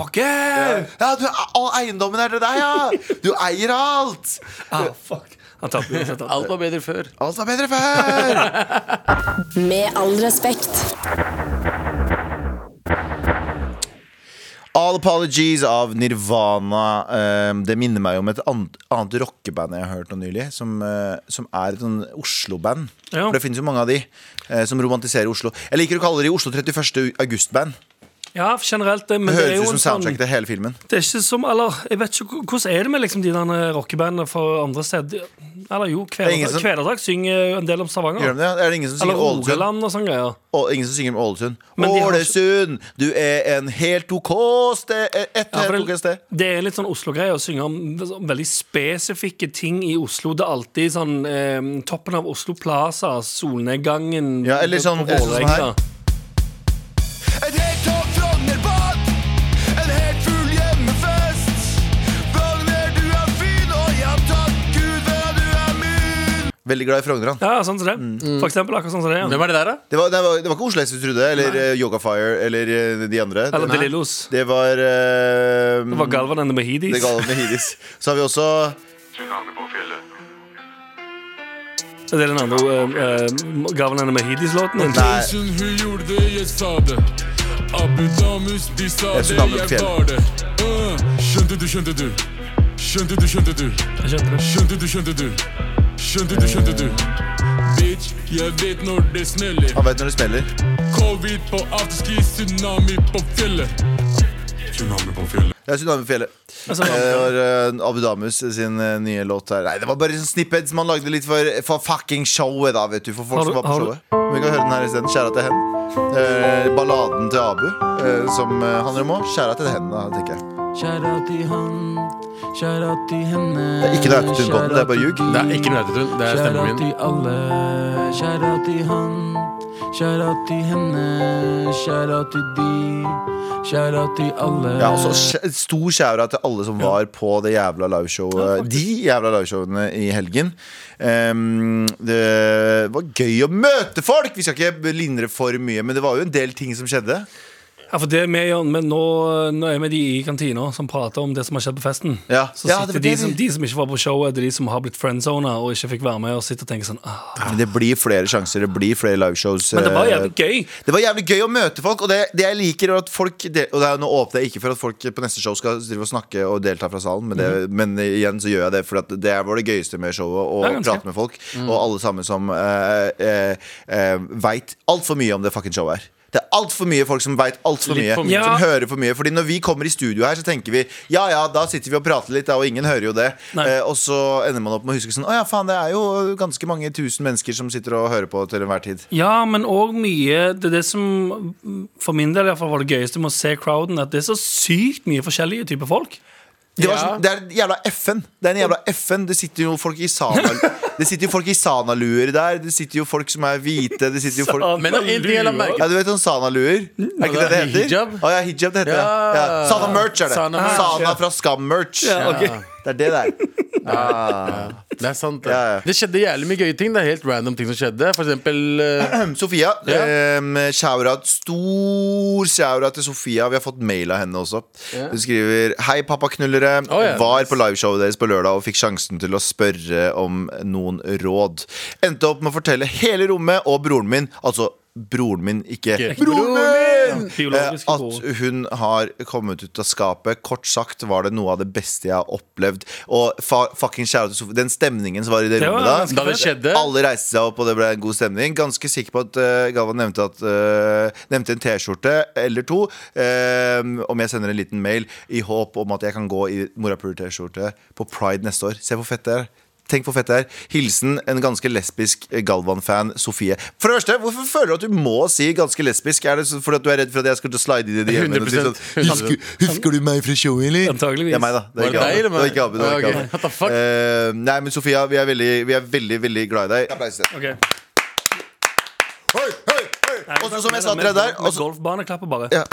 Speaker 3: Fuck you!
Speaker 2: Ja, du, all eiendommen er til deg, ja! Du eier alt!
Speaker 3: Ah, fuck. Han tapte uansett. han.
Speaker 4: Alt var bedre før.
Speaker 2: Alt var bedre før!
Speaker 5: Med all respekt.
Speaker 2: All Apologies av Nirvana. Ehm, det minner meg om et annet, annet rockeband jeg har hørt nå nylig, som, eh, som er et sånn Oslo-band.
Speaker 3: Ja.
Speaker 2: For det finnes jo mange av de eh, som romantiserer Oslo. Jeg liker å kalle de Oslo 31. august-band.
Speaker 3: Ja, generelt, det, men det er
Speaker 2: Høres
Speaker 3: jo
Speaker 2: ut
Speaker 3: en
Speaker 2: som
Speaker 3: sånn
Speaker 2: soundtrack til hele filmen.
Speaker 3: Det er ikke som, eller, jeg vet ikke, Hvordan er det med liksom, de der rockebandene fra andre steder? Eller jo,
Speaker 2: Det er ingen
Speaker 3: Kvelertak,
Speaker 2: som-
Speaker 3: Kvelertak synger jo en del om
Speaker 2: Gjør de
Speaker 3: Stavanger.
Speaker 2: det? Er det ingen som
Speaker 3: Eller
Speaker 2: synger Ålesund?
Speaker 3: Rogaland og sånne greier.
Speaker 2: Å, ingen som synger om Ålesund.
Speaker 3: Men de har ikke-
Speaker 2: Ålesund, du er en helt OK sted Et
Speaker 3: Ja, for
Speaker 2: helt OK
Speaker 3: det,
Speaker 2: sted.
Speaker 3: det er litt sånn Oslo-greie å synge om sånn veldig spesifikke ting i Oslo. Det er alltid sånn eh, toppen av Oslo Plaza, solnedgangen
Speaker 2: Ja, eller
Speaker 3: på
Speaker 2: sånn- eller sånn her.
Speaker 3: Vålerenga.
Speaker 2: Et helt tog Frognerbad En helt full hjemmefest Frogner, du er fin Og ja takk Gud for at du er min Veldig glad i Frogner han
Speaker 3: Ja, sånn som det.
Speaker 2: Mm.
Speaker 3: For eksempel akkurat sånn som det. Ja.
Speaker 4: Hvem er det der, da?
Speaker 2: Det var, det var, det var ikke Oslo S vi trodde Eller eh, Yoga Fire Eller eh, de andre
Speaker 3: Eller
Speaker 2: det,
Speaker 3: De Lillos.
Speaker 2: det var eh,
Speaker 3: Det var Galvan and the
Speaker 2: Det
Speaker 3: Mahidis.
Speaker 2: gale med Hidis Så har vi også
Speaker 6: Tsunami på fjellet.
Speaker 3: Det er den andre eh, eh, Galvan and the Mahidis-låten. din.
Speaker 2: Nei
Speaker 7: Hun hun gjorde det, jeg sa det. Abu Damus, de sa
Speaker 2: Jeg
Speaker 7: det,
Speaker 2: skulle ha med
Speaker 7: jeg
Speaker 2: fjell.
Speaker 7: var det. Uh, skjønte du, skjønte du. Skjønte du, skjønte du.
Speaker 3: Jeg skjønte det.
Speaker 7: Skjønte du, skjønte du. Skjønte du, skjønte du. Bitch, jeg vet når det smeller.
Speaker 2: Han vet når det smeller
Speaker 7: Covid på afterski, tsunami på fjellet. Tsunami på fjellet.
Speaker 2: Det er Tsunami på fjellet
Speaker 3: Altså,
Speaker 2: Eh, Det var eh, Abu Damus sin eh, nye låt her Nei, det var bare sånn snippets Man lagde litt for, for fucking showet da, vet du For folk
Speaker 3: Har du-
Speaker 2: som var på
Speaker 3: har du-
Speaker 2: showet Men Vi kan høre den her i stedet Kjære til hen Eh, Balladen til Abu eh, Som eh, handler om å Kjære til hen da, tenker jeg
Speaker 8: Kjære til han, kjære til henne.
Speaker 2: Det er ikke noe autotune på den, det er bare ljug.
Speaker 4: Det er ikke noe autotune. Det er
Speaker 8: Kjære
Speaker 4: stemmen min.
Speaker 8: til alle, kjære til han, kjære til henne, kjære til de, kjære til alle.
Speaker 2: Ja, altså- også
Speaker 3: Eh.
Speaker 2: skj- stor kjære til alle som var på det jævla liveshowet De jævla liveshowene i helgen Em, Det var gøy å møte folk Vi skal ikke lindre for mye Men det var jo en del ting som skjedde
Speaker 3: Ja, for det er vi gjør, men nå, nå er vi de i kantina som prater om det som har skjedd på festen.
Speaker 2: Ja.
Speaker 3: Så
Speaker 2: Ja, det
Speaker 3: sitter
Speaker 2: var
Speaker 3: de,
Speaker 2: det vi-
Speaker 3: som, de som ikke var på showet, det er de som har blitt friendzona og ikke fikk være med, og sitter og tenker sånn ah.
Speaker 2: Men det blir flere sjanser, det blir flere liveshows
Speaker 3: Men det var
Speaker 2: eh,
Speaker 3: jævlig gøy.
Speaker 2: Det var jævlig gøy å møte folk, og det, det jeg liker er at folk del- Og det er, nå åpner jeg ikke for at folk på neste show skal drive og snakke og delta fra salen, men, det,
Speaker 3: Mhm.
Speaker 2: men igjen så gjør jeg det, for at det var det gøyeste med showet, å
Speaker 3: Ja, ganske. Mhm.
Speaker 2: prate med folk. Og alle sammen som eh, eh, eh, veit altfor mye om det fucking showet her. Det er altfor mye folk som veit altfor mye.
Speaker 4: Litt for
Speaker 3: mye.
Speaker 2: Som
Speaker 3: Ja.
Speaker 2: hører for mye Fordi når vi kommer i studio her, så tenker vi ja ja, da sitter vi og prater litt, da, og ingen hører jo det.
Speaker 3: Nei.
Speaker 2: Eh, og så ender man opp med å huske sånn Å ja, faen, det er jo ganske mange tusen mennesker som sitter og hører på til enhver tid.
Speaker 3: Ja, men òg mye Det er det som for min del i hvert fall var det gøyeste med å se crowden, at det er så sykt mye forskjellige typer folk.
Speaker 2: Det, var
Speaker 4: Ja.
Speaker 2: sånn, det er en jævla FN. Det er en jævla FN Det sitter jo folk i sana Det sitter jo folk i sanaluer der. Det sitter jo folk som er hvite. Det sitter jo folk
Speaker 4: Men en ting jeg la merke
Speaker 2: ja, Du vet sånn sanaluer? Er ikke det det heter?
Speaker 4: Hijab.
Speaker 2: Å, ja, hijab det heter ja.
Speaker 4: Ja.
Speaker 2: Ja. Sana-merch er det.
Speaker 4: Sana merch,
Speaker 2: Sana
Speaker 4: ja.
Speaker 2: fra Skam-merch. Det er det det er. Ah.
Speaker 4: Det er sant. Det.
Speaker 2: Ja, ja.
Speaker 4: det skjedde jævlig mye gøye ting. Det er helt random ting som skjedde. For eksempel eh,
Speaker 2: Sofia.
Speaker 4: Ja.
Speaker 2: ehm, shoutout, stor shoutout til Sofia. Vi har fått mail av henne også.
Speaker 4: Ja.
Speaker 2: Hun skriver Hei, pappaknullere.
Speaker 4: Å, ja.
Speaker 2: Var på liveshowet deres på lørdag og fikk sjansen til å spørre om noen råd. Endte opp med å fortelle hele rommet og broren min, altså broren min, ikke
Speaker 4: Ikke-
Speaker 2: Broren min! eh,
Speaker 3: Biologiske
Speaker 2: at
Speaker 3: bror.
Speaker 2: hun har kommet ut av skapet. Kort sagt var det noe av det beste jeg har opplevd. Og fa fucking shout out til Sofie. Den stemningen som var i det,
Speaker 3: Det var
Speaker 2: rommet da.
Speaker 3: ganske
Speaker 4: Da det skjedde
Speaker 2: Alle reiste seg opp, og det ble en god stemning. Ganske sikker på at eh, Galvan nevnte, at, eh, nevnte en T-skjorte eller to. eh, om jeg sender en liten mail i håp om at jeg kan gå i Morapuler-T-skjorte på Pride neste år. Se hvor fett det er. Tenk hvor fett det er. Hilsen en ganske lesbisk eh, Galvan-fan, Sofie. For det første, Hvorfor føler du at du må si 'ganske lesbisk'? Er det så- fordi at du er redd for at jeg skal slide inn i de hjemmene og si sånn
Speaker 4: 100%.
Speaker 2: husker, 'Husker du meg fra showet, eller?'
Speaker 3: Antageligvis.
Speaker 2: Det er meg, da. Det
Speaker 4: Var
Speaker 2: er ikke
Speaker 4: det deg,
Speaker 2: Abu.
Speaker 4: eller
Speaker 2: Det er ikke Abu. Det er
Speaker 4: meg?
Speaker 2: ikke
Speaker 4: Ok,
Speaker 2: Abu.
Speaker 4: what the fuck?
Speaker 2: Eh, nei, men Sofia, vi er veldig, vi er veldig, veldig glad i deg. Applaus til deg.
Speaker 3: Ok.
Speaker 2: Hei, hei, hei! Og så som jeg sa til deg der
Speaker 3: Med-
Speaker 2: og
Speaker 3: med
Speaker 2: så-
Speaker 3: Golfbaneklapper, bare.
Speaker 2: Ja.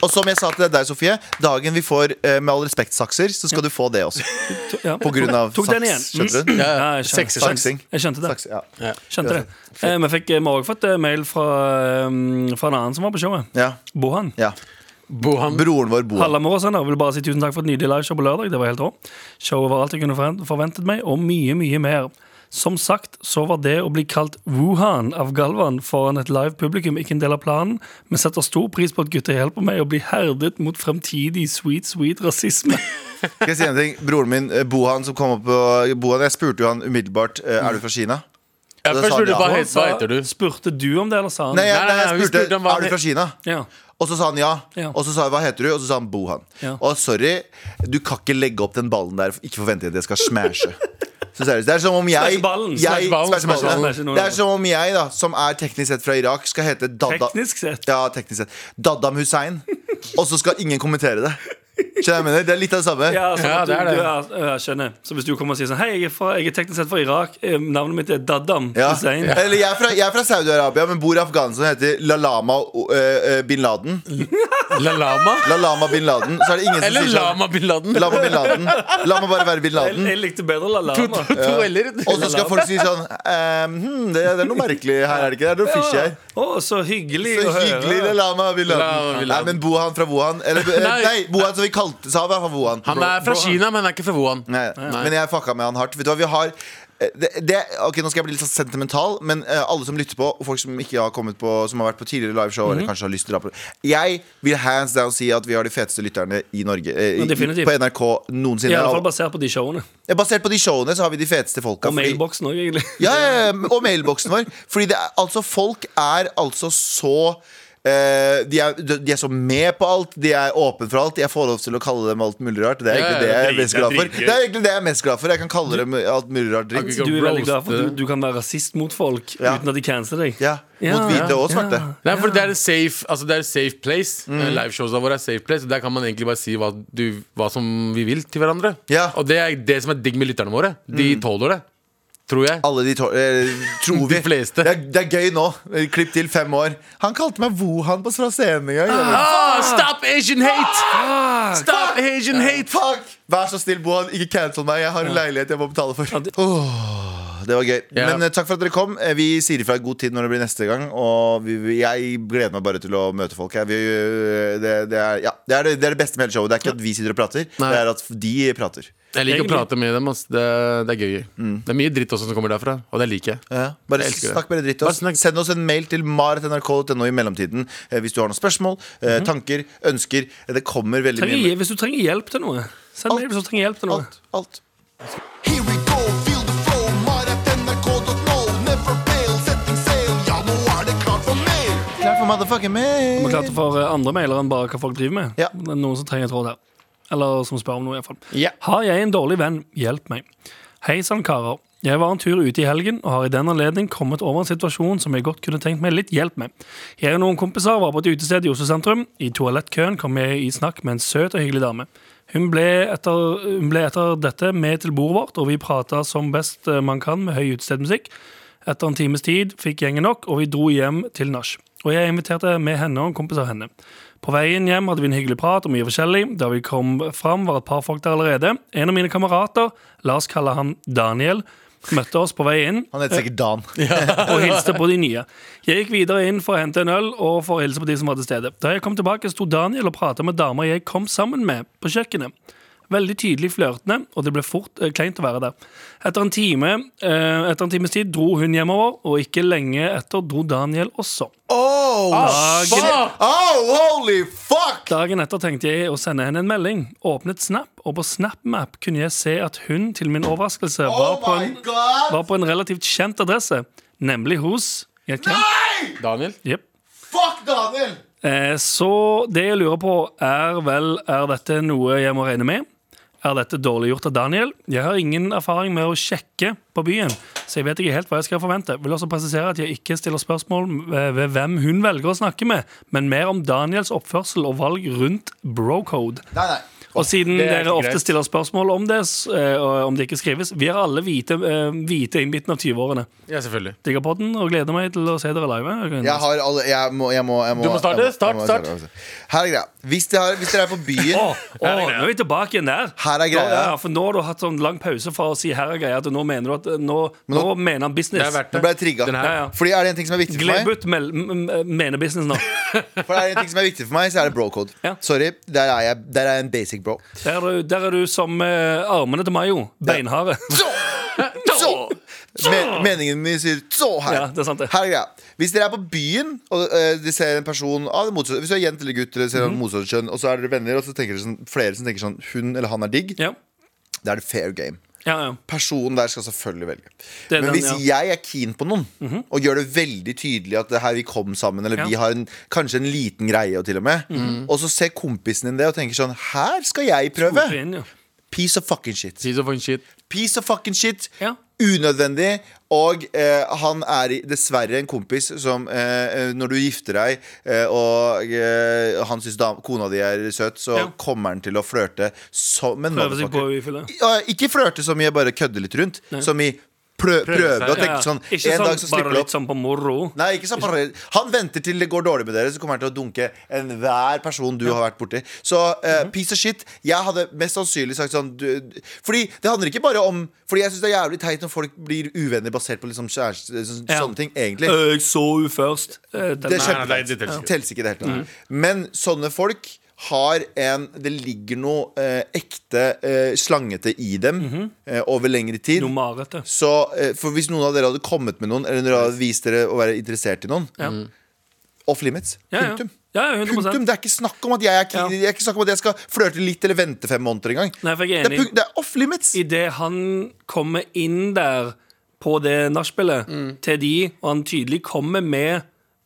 Speaker 2: Og som jeg sa til deg der, Sofie dagen vi får eh, Med all respekt sakser, så skal du få det også.
Speaker 3: Ja.
Speaker 2: På grunn av
Speaker 3: Tok den igjen. Mm.
Speaker 2: saks. Skjønte du?
Speaker 4: Ja,
Speaker 3: Ja, jeg skjønner.
Speaker 4: sexy sex.
Speaker 2: Saksing.
Speaker 3: Jeg skjønte det.
Speaker 2: Saks, ja.
Speaker 3: Skjønte det. Eh, Vi fikk vi har også fått eh, mail fra, eh, fra en annen som var på showet.
Speaker 2: Ja.
Speaker 3: Bohan.
Speaker 2: ja.
Speaker 4: Bohan.
Speaker 2: Broren vår bor
Speaker 3: Halla morgensender. Vil bare si tusen takk for et nydelig liveshow på lørdag. Det var helt rå. Showet var alt jeg kunne forvent- forventet meg, og mye, mye mer. Som sagt så var det å bli kalt Wuhan av Galvan foran et live publikum ikke en del av planen, men setter stor pris på at gutter hjelper meg å bli herdet mot fremtidig sweet, sweet rasisme.
Speaker 2: Skal jeg si en ting? Broren min, eh, Bohan, som kom opp på Bohan, jeg spurte jo han umiddelbart eh, Er du fra Kina.
Speaker 4: Ja,
Speaker 2: Da
Speaker 4: først
Speaker 2: sa de
Speaker 4: spurte du hva
Speaker 2: ja.
Speaker 4: het- hva heter du.
Speaker 3: Spurte du om det, eller sa han?
Speaker 2: Nei, jeg,
Speaker 4: Nei, nei,
Speaker 2: nei,
Speaker 4: nei,
Speaker 2: jeg
Speaker 4: vi
Speaker 2: spurte
Speaker 4: spurte om hva
Speaker 2: er du
Speaker 4: han
Speaker 2: fra Kina.
Speaker 3: Ja.
Speaker 2: Og så sa han ja.
Speaker 3: Ja.
Speaker 2: Og så sa jeg hva heter du? Og så sa han Bohan.
Speaker 3: Ja.
Speaker 2: Og sorry, du kan ikke legge opp den ballen der. Ikke forvente at jeg skal smashe. Så seriøst, Det er som om jeg,
Speaker 3: Smashe ballen.
Speaker 2: jeg
Speaker 3: Smashe
Speaker 4: ballen,
Speaker 2: smashe
Speaker 4: smashe
Speaker 2: ballen.
Speaker 3: ballen.
Speaker 2: Det er som om jeg, da som er teknisk sett fra Irak, skal hete Dadda
Speaker 3: Teknisk sett?
Speaker 2: Ja, teknisk sett Daddam Hussein. Og så skal ingen kommentere det. Skjønner du hva jeg mener? Det er litt av det samme.
Speaker 3: Ja, altså,
Speaker 4: Ja,
Speaker 3: at du,
Speaker 4: det er det.
Speaker 3: Du er, ja, jeg skjønner. Så hvis du kommer og sier sånn Hei, jeg er, fra, jeg er teknisk sett fra Irak. eh, Navnet mitt er Daddam
Speaker 2: Ja.
Speaker 3: Hussein.
Speaker 2: Eller jeg er fra, jeg er fra Saudi-Arabia, men bor i Afghanistan og heter Lalama eh, eh, bin Laden.
Speaker 4: La Lama?
Speaker 2: Lalama bin Laden. Så er det ingen som
Speaker 4: Eller
Speaker 2: sier sånn.
Speaker 4: Lama bin Laden?
Speaker 2: La meg bin Laden. La meg bare være bin
Speaker 3: Jeg,
Speaker 2: Laden.
Speaker 3: jeg likte bedre La
Speaker 4: To,
Speaker 3: Lama.
Speaker 4: to, to eller?
Speaker 2: Og så skal folk si sånn ehm, hmm, det, det er noe merkelig her, er det ikke? Det er noe fishy her.
Speaker 3: Å, så hyggelig
Speaker 2: Så
Speaker 3: å høre.
Speaker 2: hyggelig, det lama bin
Speaker 4: Lama
Speaker 2: Laden.
Speaker 4: bin Laden.
Speaker 2: Nei, men Bohan fra Wuhan Eller eh,
Speaker 4: Nei.
Speaker 2: nei, Bohan som vi kalte sa, var fra Wuhan.
Speaker 4: Han er fra Kina, men han er ikke fra Wuhan.
Speaker 2: Nei, men jeg fucka med han hardt. Vet du hva, vi har eh, det, det, ok, Nå skal jeg bli litt sånn sentimental, men eh, alle som lytter på, og folk som ikke har kommet på Som har vært på tidligere liveshow,
Speaker 3: Mhm.
Speaker 2: eller kanskje har lyst til å dra på Jeg vil hands down si at vi har de feteste lytterne i Norge eh, i,
Speaker 3: Definitivt.
Speaker 2: på NRK noensinne.
Speaker 3: I alle fall
Speaker 2: Av-
Speaker 3: basert på de showene.
Speaker 2: Ja, Basert på de showene så har vi de feteste folka.
Speaker 3: Og
Speaker 2: fordi-
Speaker 3: mailboksen òg, egentlig.
Speaker 2: Ja, ja, ja, og mailboksen vår. Fordi det er, altså, folk er altså så eh, de, er, de er så med på alt, de er åpne for alt. Jeg får lov til å kalle dem alt mulig rart. Det er
Speaker 4: Ja, ja,
Speaker 2: egentlig det jeg er
Speaker 4: drit-
Speaker 2: mest glad
Speaker 4: det er
Speaker 2: for.
Speaker 4: dritgøy.
Speaker 2: Det er egentlig det jeg er mest glad for. Jeg kan kalle dem alt mulig rart dritt.
Speaker 4: Skal
Speaker 3: Du er veldig
Speaker 4: roaste.
Speaker 3: glad for at du, du kan være rasist mot folk
Speaker 2: Ja.
Speaker 3: uten at de canceler deg.
Speaker 2: Ja, Mot hvite og svarte.
Speaker 4: Nei, for det er et safe, altså det er et safe place. Mm. Liveshowsa våre er safe place. og Der kan man egentlig bare si hva, du, hva som vi vil til hverandre.
Speaker 2: Ja. Mm.
Speaker 4: Og det er det som er digg med lytterne våre. De tåler det. Tror jeg.
Speaker 2: Alle de to eh, tror vi.
Speaker 4: De fleste.
Speaker 2: Det, er, det er gøy nå. Klipp til fem år. Han kalte meg Wuhan på fra scenen en gang.
Speaker 4: Ah, stop Asian hate!
Speaker 2: Ah!
Speaker 4: Stop Asian hate!
Speaker 2: Fuck! Vær så snill, Bohan, ikke cancel meg. Jeg har en leilighet jeg må betale for.
Speaker 3: det-
Speaker 2: Åh, det var gøy.
Speaker 4: Ja.
Speaker 2: Men eh, takk for at dere kom. Eh, Vi sier ifra i god tid når det blir neste gang. Og vi, vi- jeg gleder meg bare til å møte folk her. Vi, eh, det, det, er, ja, det, er det, det er det beste med hele showet. Det er ikke at vi sitter og prater,
Speaker 4: Nei.
Speaker 2: det er at de prater.
Speaker 4: Jeg liker
Speaker 3: Egentlig.
Speaker 4: å prate med dem. ass. Det, det er gøy. Det er mye dritt også som kommer derfra, og det liker jeg.
Speaker 2: Mm. Ja, bare
Speaker 4: Jeg elsker det.
Speaker 2: snakk bare dritt til
Speaker 4: Bare
Speaker 2: oss.
Speaker 4: snakk.
Speaker 2: Send oss en mail til maret.nrk.no i mellomtiden eh, hvis du har noen spørsmål,
Speaker 4: Mhm.
Speaker 2: eh, tanker, ønsker. Eh, Det kommer veldig
Speaker 3: Trenger,
Speaker 2: mye.
Speaker 3: hje- hvis du trenger hjelp til noe, send mail hvis du trenger hjelp til noe.
Speaker 2: Alt, alt.
Speaker 9: Here we go, feel the flow, maratnrk.no. Never fail, setting sail. Ja, nå er det klart for mer.
Speaker 2: Klart for motherfucking mail.
Speaker 3: Vi klarte for eh, andre mailer enn bare hva folk driver med.
Speaker 2: Ja.
Speaker 3: Det er noen som trenger et råd her. Eller som spør om noe, iallfall.
Speaker 4: Ja.
Speaker 3: Har jeg en dårlig venn? Hjelp meg. Hei sann, karer. Jeg var en tur ute i helgen og har i den anledning kommet over en situasjon som jeg godt kunne tenkt meg litt hjelp med. Jeg og noen kompiser var på et utested i Oslo sentrum. I toalettkøen kom jeg i snakk med en søt og hyggelig dame. Hun ble etter, hun ble etter dette med til bordet vårt, og vi prata som best eh, man kan med høy utestedmusikk. Etter en times tid fikk gjengen nok, og vi dro hjem til nach. Og jeg inviterte med henne og en kompis av henne. På veien hjem hadde vi en hyggelig prat om mye forskjellig. Da vi kom fram, var et par folk der allerede. En av mine kamerater, la oss kalle han Daniel, møtte oss på vei inn
Speaker 2: Han heter sikkert Dan.
Speaker 3: og hilste på de nye. Jeg gikk videre inn for å hente en øl og for å hilse på de som var til stede. Da jeg kom tilbake, sto Daniel og pratet med dama jeg kom sammen med på kjøkkenet. Veldig tydelig flørtende, og det ble fort eh, kleint å være der. Etter en, time, eh, etter en times tid dro hun hjemover, og ikke lenge etter dro Daniel også.
Speaker 2: Oh,
Speaker 3: Dagen,
Speaker 4: Ah!
Speaker 2: oh, holy fuck!
Speaker 3: Dagen etter tenkte jeg å sende henne en melding. Åpnet Snap, og på SnapMap kunne jeg se at hun, til min overraskelse, var,
Speaker 2: Oh
Speaker 3: på,
Speaker 2: my
Speaker 3: en,
Speaker 2: god!
Speaker 3: var på en relativt kjent adresse, nemlig hos i et kjent-
Speaker 2: Nei!
Speaker 4: Daniel?
Speaker 3: Jep.
Speaker 2: Fuck Daniel!
Speaker 3: Eh, Så det jeg lurer på, er vel Er dette noe jeg må regne med? Er dette dårlig gjort av Daniel? Jeg har ingen erfaring med å sjekke på byen, så jeg vet ikke helt hva jeg skal forvente. Vil også presisere at jeg ikke stiller spørsmål ved ved hvem hun velger å snakke med, men mer om Daniels oppførsel og valg rundt brocode.
Speaker 2: Nei, nei.
Speaker 3: Og siden
Speaker 4: Det er
Speaker 3: dere
Speaker 4: ikke
Speaker 3: ofte
Speaker 4: greit.
Speaker 3: stiller spørsmål om det, s- eh, og om det ikke skrives Vi er alle hvite, eh, hvite i midten av 20-årene.
Speaker 4: Ja, selvfølgelig.
Speaker 3: Digger podden og gleder meg til å se dere live.
Speaker 2: Jeg har alle Jeg må, jeg må, jeg må
Speaker 4: Du må starte.
Speaker 2: jeg må-
Speaker 4: Start,
Speaker 2: jeg må-
Speaker 4: start.
Speaker 2: Her er greia. Hvis dere, har, hvis dere er på byen
Speaker 3: Å, å, nå er vi tilbake igjen der.
Speaker 2: Her er greia.
Speaker 3: Nå, ja, for nå har du hatt sånn lang pause fra å si 'her er greia' til nå mener du at eh, Nå, nå, mener han
Speaker 4: Det
Speaker 3: business.
Speaker 4: er verdt
Speaker 2: Nå ble jeg
Speaker 4: det.
Speaker 2: trigga.
Speaker 4: Den her.
Speaker 3: Ja, ja.
Speaker 2: Fordi er det en ting som er viktig for meg
Speaker 3: Glebut mel- m- m- mener business nå.
Speaker 2: For er det en ting som er viktig for meg, så er det brocode.
Speaker 3: Ja.
Speaker 2: Sorry, der er jeg Der er jeg en basic bro.
Speaker 3: Der er du, der er du som eh, armene til Mayo. Beinharde.
Speaker 2: Så! Me meningen min sier så her.
Speaker 3: Ja, det er sant det.
Speaker 2: Her er greia. Hvis dere er på byen og eh, dere ser en person av det motsatte Hvis du er jente eller gutt, eller ser
Speaker 3: Mhm.
Speaker 2: mm motsatt kjønn, og så er dere venner, og så tenker dere sånn, flere som tenker sånn Hun eller han er digg.
Speaker 3: Ja.
Speaker 2: Da er det fair game.
Speaker 3: ja, ja.
Speaker 2: Personen der skal selvfølgelig velge.
Speaker 3: Det er
Speaker 2: Men
Speaker 3: den,
Speaker 2: hvis
Speaker 3: ja. Mhm.
Speaker 2: jeg er keen på noen, og gjør det veldig tydelig at det her vi kom sammen, eller
Speaker 3: Ja. Mhm.
Speaker 2: vi har en, kanskje en liten greie, og til og med, og så ser kompisen din det og tenker sånn Her skal jeg
Speaker 3: Hoppe
Speaker 2: prøve!
Speaker 3: Inn, ja.
Speaker 2: Piece of fucking shit.
Speaker 4: Piece of fucking shit.
Speaker 2: Piece of fucking shit.
Speaker 3: Ja.
Speaker 2: Unødvendig. Og eh, han er i- dessverre en kompis som eh, eh, når du gifter deg, eh, og eh, han syns dam- kona di er søt, så
Speaker 3: Ja.
Speaker 2: kommer han til å flørte som en
Speaker 3: Prøve seg på
Speaker 2: motherfucker.
Speaker 3: å fylle.
Speaker 2: Ja, ikke flørte som i bare kødde litt rundt. Som i prø prøve
Speaker 4: seg.
Speaker 2: å tenke sånn
Speaker 3: Ikke sånn
Speaker 2: En dag så
Speaker 3: bare
Speaker 2: slipper du
Speaker 3: litt
Speaker 2: opp.
Speaker 3: sånn på moro.
Speaker 2: Nei, ikke sånn parallell. Han venter til det går dårlig med dere, så kommer han til å dunke enhver person du har vært borti. Så eh,
Speaker 4: Mhm.
Speaker 2: piece of shit. Jeg hadde mest sannsynlig sagt sånn du, du- Fordi det handler ikke bare om Fordi jeg syns det er jævlig teit når folk blir uvenner basert på liksom kjæreste, så,
Speaker 3: Ja.
Speaker 2: sånne ting, egentlig.
Speaker 3: Eh, Jeg så henne først. Eh, den-
Speaker 2: Det er
Speaker 4: Øh, Nei, nei, nei,
Speaker 2: kjempeteit.
Speaker 4: det teller ikke. Mhm.
Speaker 2: Det Teller ikke i det hele tatt. Men sånne folk har en Det ligger noe eh, ekte eh, slangete i dem
Speaker 4: Mhm.
Speaker 2: eh, over lengre tid.
Speaker 3: Noe mareritt.
Speaker 2: Så, eh, for Hvis noen av dere hadde kommet med noen, eller dere hadde vist dere å være interessert i noen
Speaker 3: Ja.
Speaker 4: Mm.
Speaker 2: Off limits.
Speaker 3: Ja, ja.
Speaker 2: Punktum.
Speaker 3: Ja, ja, 100%.
Speaker 2: Punktum. Det er ikke snakk om at jeg, er,
Speaker 3: Ja.
Speaker 2: keen- det er ikke snakk om at jeg skal flørte litt eller vente fem måneder engang.
Speaker 3: Nei, for jeg er
Speaker 2: Det, er
Speaker 3: enig.
Speaker 2: punk- det er off limits.
Speaker 3: Idet han kommer inn der på det nachspielet til de, og han tydelig kommer med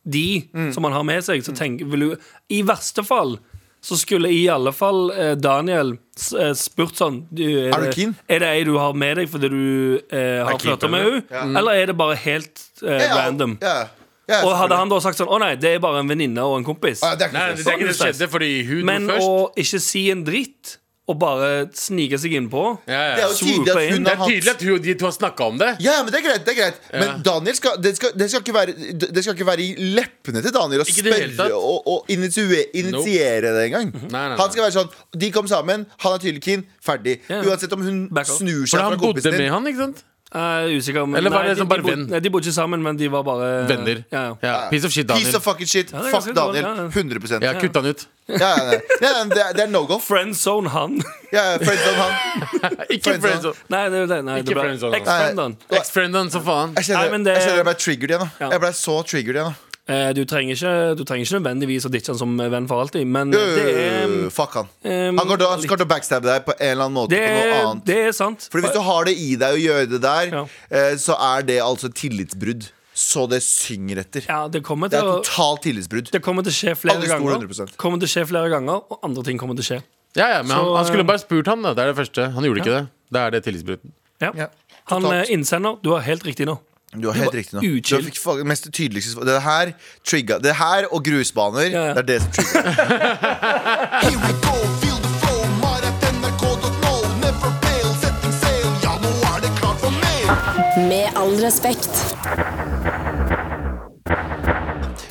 Speaker 3: de som han har med seg, så tenk, vil du I verste fall så skulle i alle fall eh, Daniel s- eh, spurt sånn du,
Speaker 2: Er du
Speaker 3: det-
Speaker 2: keen?
Speaker 3: Er det ei du har med deg fordi du eh, har
Speaker 4: keen
Speaker 3: flørta
Speaker 4: på
Speaker 3: med henne? Eller er det bare helt
Speaker 2: Ja,
Speaker 3: eh,
Speaker 2: ja.
Speaker 3: random?
Speaker 2: Ja. Ja,
Speaker 3: Og hadde
Speaker 2: selvfølgelig.
Speaker 3: han da sagt sånn Å nei, det er bare en venninne og en kompis.
Speaker 2: Ja, det er ikke
Speaker 4: Nei,
Speaker 2: noe
Speaker 4: det
Speaker 2: stress.
Speaker 4: er ikke det som skjedde, fordi hun
Speaker 3: Men
Speaker 4: dro først.
Speaker 3: å ikke si en dritt, og bare snike seg innpå
Speaker 4: Ja, ja.
Speaker 2: Det er jo tydelig
Speaker 3: Swoopa
Speaker 2: at
Speaker 3: inn.
Speaker 2: hun
Speaker 4: Det
Speaker 2: har
Speaker 4: er
Speaker 2: hatt
Speaker 4: tydelig at hun og de to har snakka om det.
Speaker 2: Ja, men det er greit, det er greit.
Speaker 4: Ja.
Speaker 2: Men Daniel skal, det, skal, det, skal ikke være, det skal ikke være i leppene til Daniel å
Speaker 4: Ikke i det hele
Speaker 2: spørre
Speaker 4: tatt.
Speaker 2: og, og initue- initiere det engang.
Speaker 4: nei, nei.
Speaker 2: Han skal være sånn De kom sammen, han er tydelig keen, ferdig.
Speaker 3: Ja.
Speaker 2: Uansett om hun
Speaker 3: Back off.
Speaker 2: snur seg
Speaker 4: For
Speaker 2: fra
Speaker 4: han bodde
Speaker 2: kompisen
Speaker 4: med
Speaker 2: din.
Speaker 4: han, ikke sant?
Speaker 3: Jeg er usikker men
Speaker 4: Eller var
Speaker 3: nei,
Speaker 4: det
Speaker 3: de-
Speaker 4: sånn bare
Speaker 3: de bod-
Speaker 4: venn?
Speaker 3: Nei, de bodde ikke sammen, men de var bare
Speaker 4: Venner.
Speaker 3: Eh, Ja, ja.
Speaker 4: Ja, Piece of shit,
Speaker 2: Piece
Speaker 4: Daniel.
Speaker 2: of fucking shit.
Speaker 3: det er
Speaker 2: Fuck
Speaker 3: ganske dårlig,
Speaker 2: Daniel.
Speaker 3: ja, ja.
Speaker 2: 100
Speaker 4: Ja, kutt han ut.
Speaker 2: Ja, ja, ja. Ja, ja, det, er, det er no go.
Speaker 3: Friendzone han
Speaker 2: Ja, ja, friends on han.
Speaker 4: Ikke
Speaker 2: Friendzone.
Speaker 4: friendzone.
Speaker 3: Nei, det, det, nei, det
Speaker 4: Ikke
Speaker 3: ble
Speaker 4: friendzone, altså.
Speaker 3: Ex-friendzone
Speaker 4: Ex-friend han, så faen.
Speaker 2: Jeg kjenner,
Speaker 3: Nei, men det-
Speaker 2: jeg, kjenner jeg ble triggered igjen. Da.
Speaker 3: Ja.
Speaker 2: Jeg ble så triggered igjen. Da.
Speaker 3: eh, du, trenger ikke- du trenger ikke nødvendigvis å ditche han som eh, venn for alltid Men det er
Speaker 2: Øh, fuck han.
Speaker 3: ehm,
Speaker 2: Han kommer til, han skal til å backstabbe deg på en eller annen måte.
Speaker 3: det,
Speaker 2: på noe
Speaker 3: er-
Speaker 2: annet
Speaker 3: det er sant
Speaker 2: Fordi hvis du har det i deg å gjøre det der,
Speaker 3: Ja.
Speaker 2: eh, så er det altså et tillitsbrudd. Så det synger etter.
Speaker 3: Ja, det kommer
Speaker 2: Det
Speaker 3: til
Speaker 2: er
Speaker 3: å
Speaker 2: totalt tillitsbrudd.
Speaker 3: det kommer til å skje flere
Speaker 2: Alle stoler
Speaker 3: ganger
Speaker 2: 100%.
Speaker 3: Kommer til å skje flere ganger Og andre ting kommer til å skje
Speaker 4: Ja, ja, men han,
Speaker 3: Så,
Speaker 4: han skulle
Speaker 3: eh,
Speaker 4: bare spurt han, da. Det er det første. Han gjorde ikke det. Da er det tillitsbrudd.
Speaker 3: ja.
Speaker 2: Ja,
Speaker 3: Han
Speaker 2: totalt.
Speaker 3: eh, innsender, du har helt riktig nå
Speaker 2: Du har helt riktig nå.
Speaker 3: uchill.
Speaker 2: Du fikk fa- mest tydeligste svar. Det her trigga Det her og grusbaner,
Speaker 3: Ja, ja.
Speaker 2: det er det som trigger.
Speaker 9: Here we go, feel the flow, maratnrk.no. Never fail, setting sail, ja, nå er det klart for mer.
Speaker 5: Med all respekt.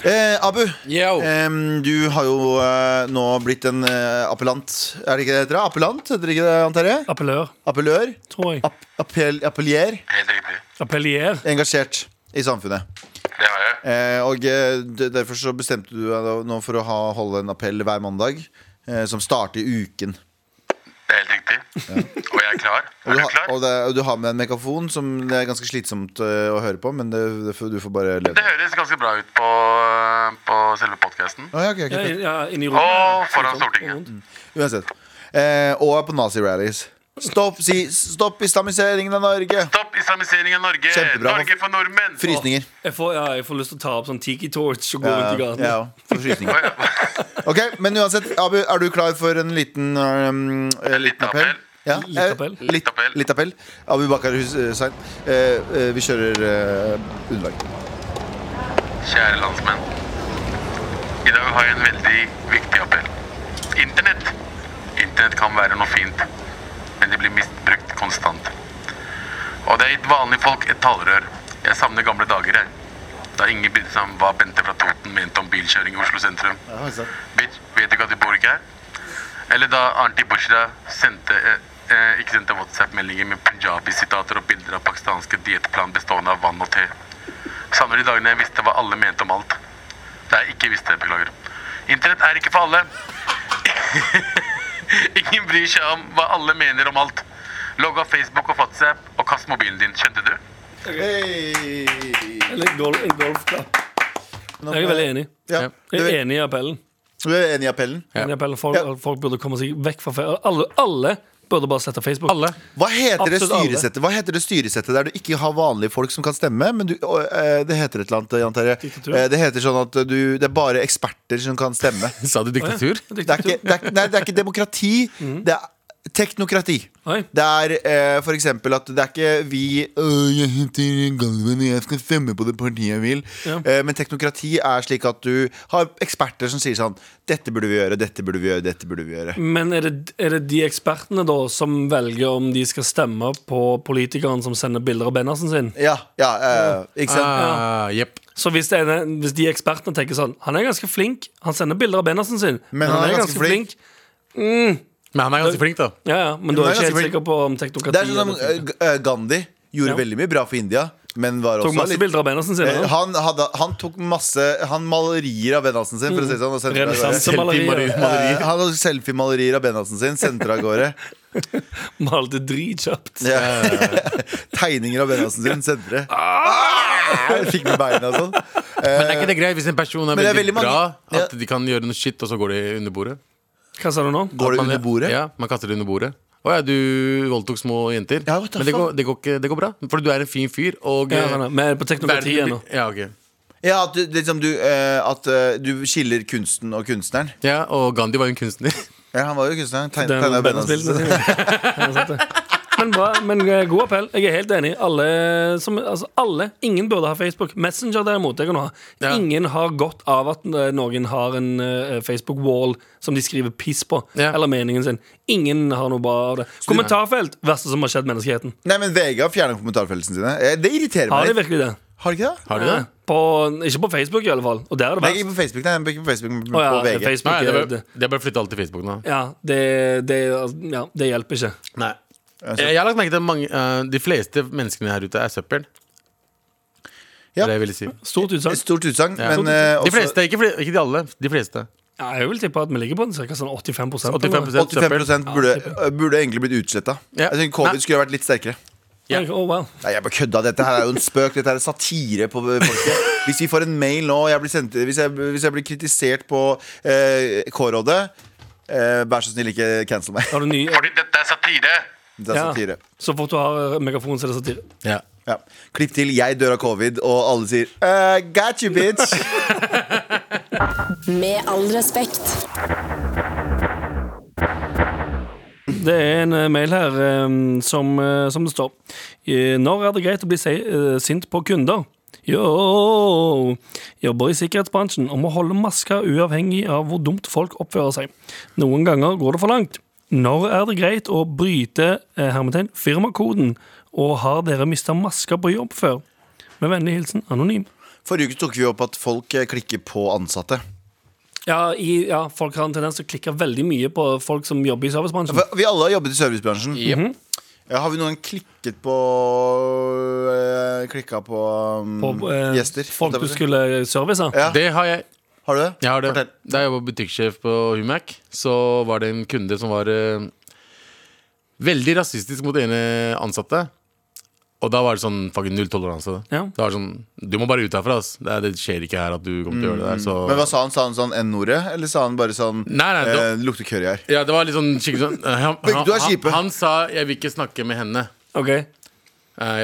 Speaker 2: Eh, Abu,
Speaker 4: Yo.
Speaker 2: em, du har jo eh, nå blitt en eh, appellant. Er det ikke det heter? det? Appellant, heter det ikke det, Jan Terje?
Speaker 3: Appellør,
Speaker 2: Appellør?
Speaker 3: tror jeg
Speaker 2: App appell appellier?
Speaker 6: Helt riktig.
Speaker 3: Appellier
Speaker 2: Engasjert i samfunnet.
Speaker 6: Det har jeg.
Speaker 2: Eh, og eh, de- derfor så bestemte du deg da nå for å ha, holde en appell hver mandag. Eh, som starter i uken.
Speaker 6: Det er helt riktig.
Speaker 4: Og jeg er klar.
Speaker 2: Og
Speaker 4: Er
Speaker 2: du,
Speaker 4: du
Speaker 2: har,
Speaker 4: klar?
Speaker 2: og, det, og du har med en megafon som det er ganske slitsomt eh, å høre på, men det, det, får- du får bare leve
Speaker 4: Det
Speaker 2: med det.
Speaker 4: høres ganske bra ut på, på selve podkasten.
Speaker 2: Å, ja, ok, ok,
Speaker 3: Ja,
Speaker 2: fett.
Speaker 3: ja, inni rommet.
Speaker 4: Og foran Stortinget.
Speaker 2: Uansett. Eh, og er på nazirallies. Stopp, si, stopp islamiseringen av Norge!
Speaker 4: Stopp islamisering av Norge!
Speaker 2: Kjempebra.
Speaker 4: Norge for nordmenn!
Speaker 2: Frysninger.
Speaker 3: Jeg får, ja, jeg får lyst til å ta opp sånn Tiki Torch og gå rundt i
Speaker 2: Ja,
Speaker 3: gaten.
Speaker 2: ja, for frysninger. Ok, Men uansett, Abu, er du klar for en liten um, eh, Liten
Speaker 4: liten
Speaker 2: appell?
Speaker 4: appell.
Speaker 2: Ja,
Speaker 3: Liten
Speaker 2: eh,
Speaker 3: appell.
Speaker 2: Litt,
Speaker 4: Liten appell.
Speaker 2: litt appell. Abu Bakar Hussein. Eh, eh, vi kjører eh, underlag.
Speaker 4: Kjære landsmenn. I dag har jeg en veldig viktig appell. Internett. Internett kan være noe fint, men det blir misbrukt konstant. Og det har gitt vanlige folk et talerør. Jeg savner gamle dager her. Da ingen brydde seg om hva Bente fra Toten mente om bilkjøring i Oslo sentrum. Bitch, vet du ikke at du bor ikke her? Eller da Arnti Bushra sendte eh, eh, ikke sendte WhatsApp-meldinger med punjabi-sitater og bilder av pakistanske diettplan bestående av vann og te. Savner de dagene jeg visste hva alle mente om alt. Det jeg ikke visste, beklager. Internett er ikke for alle. Ingen bryr seg om hva alle mener om alt. Logg av Facebook og WhatsApp og kast mobilen din, skjønte du?
Speaker 3: Eller golf, en golfklapp. Jeg er veldig enig.
Speaker 2: Ja, du,
Speaker 3: Jeg er enig i appellen.
Speaker 2: du er enig i appellen?
Speaker 3: Enig i appellen. Folk,
Speaker 2: Ja.
Speaker 3: folk burde komme seg vekk fra fe- alle, alle burde bare slette Facebook.
Speaker 2: Hva heter, det
Speaker 3: Absolutt alle.
Speaker 2: styresettet? Hva heter det styresettet der du ikke har vanlige folk som kan stemme? Men du, å, eh, det heter et eller annet, Jan Terje.
Speaker 3: Diktatur.
Speaker 2: Eh, Det heter sånn at du, det er bare eksperter som kan stemme.
Speaker 10: Sa du diktatur?
Speaker 2: Det er ikke, det er, ikke- nei, det er ikke demokrati.
Speaker 3: Mm.
Speaker 2: Det er teknokrati.
Speaker 3: Oi.
Speaker 2: Det er eh, for eksempel at det er ikke vi «Åh, Jeg heter Galven, og jeg skal stemme på det partiet jeg vil.
Speaker 3: Ja.
Speaker 2: Eh, men teknokrati er slik at du har eksperter som sier sånn Dette burde vi gjøre, dette burde vi gjøre, dette burde vi gjøre.
Speaker 3: Men er det, er det de ekspertene da som velger om de skal stemme på politikeren som sender bilder av Bennersen sin?
Speaker 2: Ja, ja, eh, ikke sant?
Speaker 10: Ah, jepp.
Speaker 3: Så hvis, det er, en- hvis de ekspertene tenker sånn Han er ganske flink, han sender bilder av Bennersen sin.
Speaker 2: Men han er ganske flink.
Speaker 10: Men han er ganske flink, da.
Speaker 3: Ja, ja, Men du
Speaker 2: han er
Speaker 3: er ikke helt
Speaker 2: ganske flink.
Speaker 3: sikker på om teknokrati
Speaker 2: Det er sånn som
Speaker 3: eller-
Speaker 2: eh, G- eh, Gandhi gjorde
Speaker 3: Ja.
Speaker 2: veldig mye bra for India, men var
Speaker 3: Tok
Speaker 2: også
Speaker 3: masse bilder av Bennersen sin.
Speaker 2: Eh,
Speaker 3: ja.
Speaker 2: han, hadde, han tok masse Han malerier av Benhadsen sin, for å si det sånn. og sendte det av gårde.
Speaker 3: Renessansemalerier.
Speaker 2: Eh, han hadde selfie-malerier av Benhadsen sin, sendte det av gårde.
Speaker 3: Malte dritkjapt.
Speaker 2: Ja. Tegninger av Benhadsen sin, sendte det. Ah! Fikk med beina og sånn.
Speaker 10: Men er ikke det greit hvis en person er
Speaker 2: Men det er veldig
Speaker 10: veldig,
Speaker 2: mange-
Speaker 10: bra,
Speaker 2: Ja.
Speaker 10: at de kan gjøre noe shit, og så går de under bordet?
Speaker 3: Hva sa du nå?
Speaker 2: Går det
Speaker 10: Man-
Speaker 2: under bordet?
Speaker 10: Ja, man kaster det under bordet. Å ja, du voldtok små jenter.
Speaker 2: Ja, what the
Speaker 10: Men det
Speaker 2: fuck?
Speaker 10: går, det, går ikke, det går bra, for du er en fin fyr, og
Speaker 3: Ja,
Speaker 10: eh,
Speaker 3: nei, nei, men er det på teknokrati
Speaker 10: verden-
Speaker 3: ennå.
Speaker 10: Ja, ok.
Speaker 2: Ja, at du, liksom du, eh, at eh, du skiller kunsten og kunstneren.
Speaker 10: ja, og Gandhi var jo en kunstner.
Speaker 2: Ja, han var jo kunstner. Tegn,
Speaker 3: Den
Speaker 2: tegnet av Benhadsen
Speaker 3: Bennersen-bilden
Speaker 2: sin.
Speaker 3: sin. Ja, sant det. Men bra, men eh, god appell. Jeg er helt enig. Alle, som, altså, alle Ingen burde ha Facebook. Messenger derimot, det kan du ha.
Speaker 10: Ja.
Speaker 3: Ingen har godt av at eh, noen har en eh, Facebook-wall som de skriver piss på,
Speaker 10: Ja.
Speaker 3: eller meningen sin. Ingen har noe bra av det. Kommentarfelt verste som har skjedd menneskeheten.
Speaker 2: Nei, men VG har fjernet kommentarfeltene sine. Eh, Det irriterer
Speaker 3: Har
Speaker 2: meg
Speaker 3: de
Speaker 2: litt.
Speaker 3: virkelig det?
Speaker 2: Har de ikke det?
Speaker 10: Har du det?
Speaker 3: Ja. På, ikke på Facebook, i alle fall. Og der er det
Speaker 2: Nei,
Speaker 3: verst.
Speaker 2: ikke på Facebook, nei, ikke på, Facebook, men
Speaker 3: Å ja,
Speaker 2: på VG.
Speaker 3: Facebook,
Speaker 10: Nei, det
Speaker 3: er
Speaker 10: er
Speaker 3: det
Speaker 10: bare- det er bare å flytte alt til Facebook nå.
Speaker 3: ja, det, det, ja, det hjelper ikke.
Speaker 10: Nei.
Speaker 2: Altså-
Speaker 10: Jeg har lagt merke til at mange, eh, de fleste menneskene her ute er søppel.
Speaker 2: Ja.
Speaker 10: Det er det jeg ville si.
Speaker 3: Stort
Speaker 2: Et
Speaker 3: utsagn.
Speaker 2: Stort utsagn,
Speaker 10: Ja.
Speaker 2: men eh,
Speaker 10: de
Speaker 2: også-
Speaker 10: fleste, ikke, fl- ikke de alle. De fleste.
Speaker 3: Ja, jeg vil tippe at vi ligger på en cirka sånn 85 eller noe.
Speaker 10: 85 søppel.
Speaker 2: 85 burde, eh, burde egentlig blitt utsletta.
Speaker 10: Ja.
Speaker 2: Jeg synes Covid
Speaker 10: Nei.
Speaker 2: skulle vært litt sterkere.
Speaker 10: Ja.
Speaker 3: Oh, wow.
Speaker 2: Nei, jeg bare kødda. Dette her er jo en spøk. Dette her er satire på folket. Hvis vi får en mail nå, og jeg blir sendt, hvis, jeg, hvis jeg blir kritisert på eh, K-rådet eh, Vær så snill, ikke cancel meg.
Speaker 3: Har du ny
Speaker 4: Fordi dette er satire!
Speaker 2: Det er satire.
Speaker 3: Så fort du har eh, megafon, så er det satire.
Speaker 10: Ja.
Speaker 2: Ja. Klipp til 'Jeg dør av covid', og alle sier eh, 'Got you, bitch'.
Speaker 1: Med all respekt.
Speaker 3: Det er en eh, mail her eh, som, eh, som det står. Eh, Når er det greit å bli se, eh, sint på kunder? Yo! Jobber i sikkerhetsbransjen og må holde maska uavhengig av hvor dumt folk oppfører seg. Noen ganger går det for langt. Når er det greit å bryte eh, hermetegn firmakoden? Og har dere mista maska på jobb før? Med vennlig hilsen anonym.
Speaker 2: Forrige uke tok vi opp at folk eh, klikker på ansatte.
Speaker 3: Ja, i, ja, folk har en tendens til å klikke veldig mye på folk som jobber i servicebransjen.
Speaker 2: For Vi alle har jobbet i servicebransjen.
Speaker 10: Mhm.
Speaker 2: ja, har vi noen gang klikket på eh, Klikka på, um,
Speaker 3: På, eh,
Speaker 2: gjester?
Speaker 3: Folk du skulle service av.
Speaker 2: Ja.
Speaker 10: Det har jeg.
Speaker 2: Har du det?
Speaker 10: Jeg har det.
Speaker 2: Fortell.
Speaker 10: Da jeg var butikksjef på Humac, så var det en kunde som var eh,
Speaker 4: Veldig rasistisk mot ene ansatte. Og da var det sånn fucking null toleranse.
Speaker 3: Ja.
Speaker 4: Det var sånn, Du må bare ut herfra. ass. Det, er- det skjer ikke her at du kommer til å gjøre det der. Så.
Speaker 2: Mm. Men hva sa han? Sa han sånn N-ordet? Eller sa han bare sånn
Speaker 4: Nei, nei, det
Speaker 2: eh,
Speaker 4: var-
Speaker 2: Lukter curry her.
Speaker 4: Ja, det var litt sånn skikkelig sånn eh, han,
Speaker 2: Begge to er
Speaker 4: han,
Speaker 2: kjipe.
Speaker 4: han, han sa 'jeg vil ikke snakke med henne'.
Speaker 3: OK.
Speaker 4: Eh,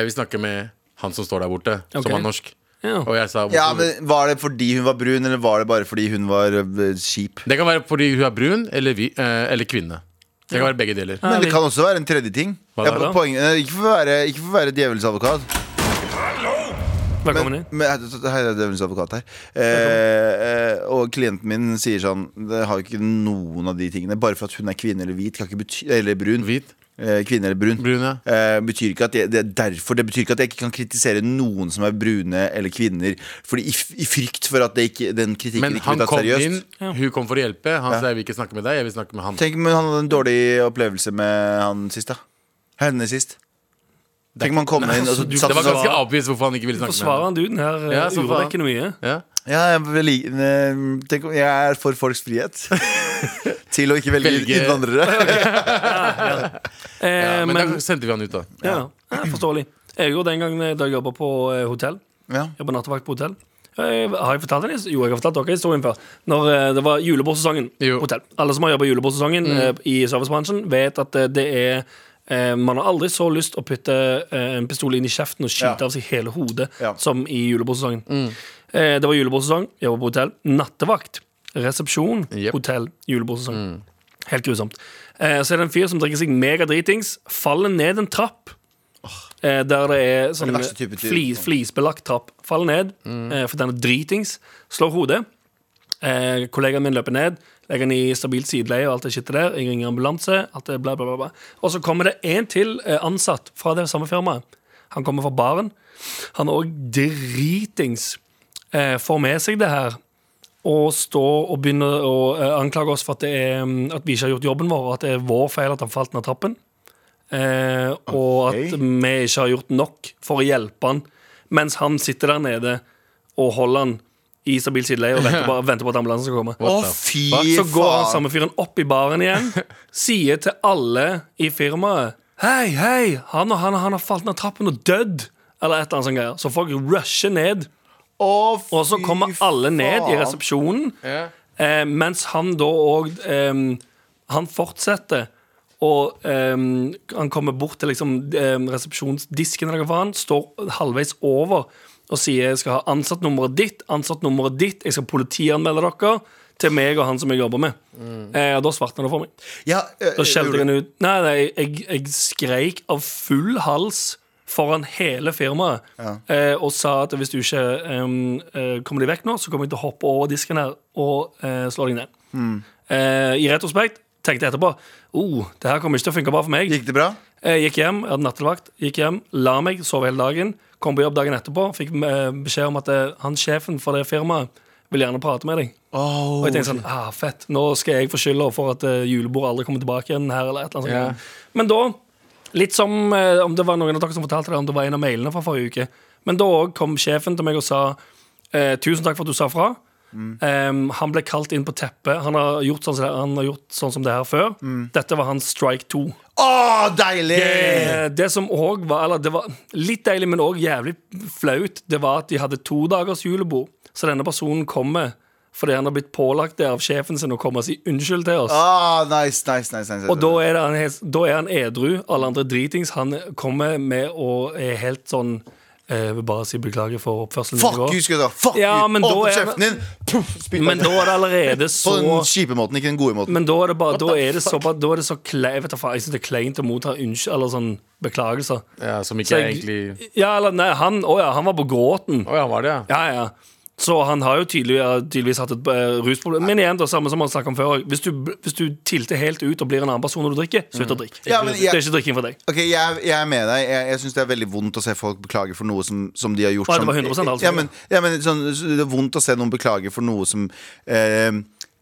Speaker 4: Jeg vil snakke med han som står der borte,
Speaker 3: Ok.
Speaker 4: som er norsk.
Speaker 3: Ja.
Speaker 4: Og jeg sa
Speaker 2: Ja,
Speaker 4: hvorfor-
Speaker 2: men Var det fordi hun var brun, eller var det bare fordi hun var eh, kjip?
Speaker 4: Det kan være fordi hun er brun eller, vi, eh, eller kvinne. Det kan være begge deler.
Speaker 2: Men det kan også være en tredje ting.
Speaker 4: Hva
Speaker 2: Jeg-
Speaker 4: da, da?
Speaker 2: poenget- eh, ikke for å være, ikke for å være djevelens advokat.
Speaker 3: Velkommen
Speaker 2: Men,
Speaker 3: inn.
Speaker 2: men, eh, hei, det er djevelens advokat her. Eh, eh, og klienten min sier sånn Det har jo ikke noen av de tingene. Bare for at hun er kvinne eller hvit, kan ikke bety eller brun.
Speaker 4: Hvit,
Speaker 2: Eh, kvinne eller brun.
Speaker 4: brun, ja.
Speaker 2: Eh, betyr ikke at jeg, det er derfor Det betyr ikke at jeg ikke kan kritisere noen som er brune eller kvinner, Fordi i, f- i frykt for at det ikke, den kritikken
Speaker 4: Men
Speaker 2: ikke
Speaker 4: han
Speaker 2: blir tatt
Speaker 4: kom
Speaker 2: seriøst.
Speaker 4: inn, hun kom for å hjelpe. Han sa 'jeg vil ikke snakke med deg', jeg vil snakke med han.
Speaker 2: Tenk om han hadde en dårlig opplevelse med han sist, da. Henne sist. Tenk om han kom inn og så
Speaker 4: altså, det
Speaker 2: satt
Speaker 4: var
Speaker 2: han
Speaker 4: ganske
Speaker 2: sånn
Speaker 4: obvious hvorfor han ikke ville snakke med
Speaker 3: Forsvarer
Speaker 4: henne.
Speaker 3: han duden her ja,
Speaker 4: Ja, så faen.
Speaker 3: urovekkende mye?
Speaker 4: Ja.
Speaker 2: ja, jeg, vil like- eh, tenk om, jeg er for folks frihet. Til å ikke velge,
Speaker 4: Velge-
Speaker 2: innvandrere.
Speaker 3: Eh,
Speaker 4: Ja, men,
Speaker 3: men
Speaker 4: da sendte vi han ut, da.
Speaker 3: ja, ja, forståelig. Jeg gjorde den gangen da jeg jobba på eh, hotell.
Speaker 2: ja.
Speaker 3: Jobba nattevakt på hotell. Eh, Har jeg fortalt den? his- Jo, jeg har fortalt dere historien før. Når eh, det var julebordsesongen
Speaker 4: Jo.
Speaker 3: på hotell. Alle som har jobba julebordsesongen eh, i servicebransjen, vet at eh, det er eh, Man har aldri så lyst å putte eh, en pistol inn i kjeften og
Speaker 2: Ja.
Speaker 3: skyte av seg hele hodet
Speaker 2: Ja.
Speaker 3: som i julebordsesongen. Eh, Det var julebordsesong, jobba på hotell. Nattevakt, resepsjon,
Speaker 4: Jep.
Speaker 3: hotell, julebordsesong. Helt grusomt. Eh, Så er det en fyr som drikker seg megadritings, faller ned en trapp. Eh, der det er sånn
Speaker 2: verste type dyr. liksom? Mm.
Speaker 3: fli, flisbelagt trapp. Faller ned, eh, for den er dritings. Slår hodet. Eh, kollegaen min løper ned, legger den i stabilt sideleie og alt det skittet der. Jeg ringer ambulanse, alt det bla, bla, bla. bla. Og så kommer det en til eh, ansatt fra det samme firmaet. Han kommer fra baren. Han er òg dritings. Eh, får med seg det her. Og står og begynner å eh, anklage oss for at, det er, mm, at vi ikke har gjort jobben vår, og at det er vår feil at han falt ned trappen. Eh, og
Speaker 2: Ok.
Speaker 3: at vi ikke har gjort nok for å hjelpe han mens han sitter der nede og holder han i stabil sideleie og venter på, venter på at ambulansen skal komme.
Speaker 2: Å, fy
Speaker 3: Så går han
Speaker 2: faen.
Speaker 3: samme fyren opp i baren igjen, sier til alle i firmaet Hei, hei, han og han, og han har falt ned trappen og dødd. Eller et eller annet sånt greier. Så folk rusher ned,
Speaker 2: Å, fy
Speaker 3: og så kommer alle ned i
Speaker 2: faen.
Speaker 3: resepsjonen.
Speaker 4: Ja.
Speaker 3: Eh, mens han da òg Han fortsetter. Og ehm, han kommer bort til liksom, ehm, resepsjonsdisken, eller hva faen, står halvveis over og sier jeg skal ha ansattnummeret ditt, ansattnummeret ditt, jeg skal politianmelde dere til meg og han som jeg jobber med.
Speaker 2: Mm.
Speaker 3: Eh, og da svartna det for meg.
Speaker 2: Ja, eh,
Speaker 3: Da
Speaker 2: gjorde-
Speaker 3: skjelte jeg han ut. Nei, nei jeg, jeg skreik av full hals foran hele firmaet eh, og sa at hvis du ikke em, eh, kommer deg vekk nå, så kommer jeg til å hoppe over disken her og eh, slå deg ned.
Speaker 2: Hmm.
Speaker 3: Eh, I retrospekt tenkte jeg etterpå oh, det her kommer ikke til å funke bra for meg.
Speaker 2: Gikk det bra?
Speaker 3: Jeg gikk hjem, jeg hadde nattevakt, gikk hjem, la meg, sov hele dagen. Kom på jobb dagen etterpå, fikk eh, beskjed om at eh, han sjefen for det firmaet vil gjerne prate med deg. Og jeg tenkte sånn, ah, fett, nå skal jeg få skylda for at eh, julebord aldri kommer tilbake igjen her, eller et eller
Speaker 4: Ja.
Speaker 3: annet sånt. Men da, litt som eh, om det var noen av dere som fortalte det, om det var en av mailene fra forrige uke, men da også kom sjefen til meg og sa, eh, tusen takk for at du sa fra. Em, han ble kalt inn på teppet Han har gjort sånn som det, han har gjort sånn som det her før Dette var hans strike 2
Speaker 2: Å, deilig!
Speaker 3: Eh, Det som òg var Eller det var litt deilig, men òg jævlig flaut, det var at de hadde to dagers julebord. Så denne personen kommer fordi han har blitt pålagt det av sjefen sin å komme og si unnskyld til oss.
Speaker 2: Ah, nice, nice, nice, nice, nice.
Speaker 3: Og da er, det han, helt- da er han edru, alle andre dritings. Han kommer med og er helt sånn eh, vil Bare si beklager for oppførselen
Speaker 2: Fuck
Speaker 3: går.
Speaker 2: you, skal jeg si. Fuck
Speaker 3: Ja,
Speaker 2: you!
Speaker 3: men da
Speaker 2: Åpne
Speaker 3: er-
Speaker 2: kjeften din! Puff, spytt
Speaker 3: Men
Speaker 2: deg.
Speaker 3: da er det allerede
Speaker 2: På den
Speaker 3: så
Speaker 2: kjipe måten, ikke den gode måten.
Speaker 3: Men da er det bare Da er det så, da er det så klei, vet du, faen, Jeg synes det er kleint å motta unnskyld Eller sånn beklagelser.
Speaker 4: Ja, som ikke
Speaker 3: Så
Speaker 4: er
Speaker 3: jeg-
Speaker 4: egentlig
Speaker 3: Ja, eller nei, han, å ja, han var på gråten.
Speaker 4: Å ja, var det, ja.
Speaker 3: Ja, ja. Så han har jo tydelig, tydeligvis hatt et eh, rusproblem. Men igjen, det samme som han snakket om før. Hvis du, hvis du tilter helt ut og blir en annen person når du drikker, slutt
Speaker 4: Mm.
Speaker 3: å drikke.
Speaker 2: Ja, men jeg-
Speaker 3: Det er ikke drikking for deg.
Speaker 2: Ok, jeg, jeg er med deg. Jeg, jeg syns det er veldig vondt å se folk beklage for noe som, som de har gjort.
Speaker 3: Ja, det var
Speaker 2: som-
Speaker 3: 100% alt som
Speaker 2: ja, men, ja, men sånn, så det er vondt å se noen beklage for noe som eh,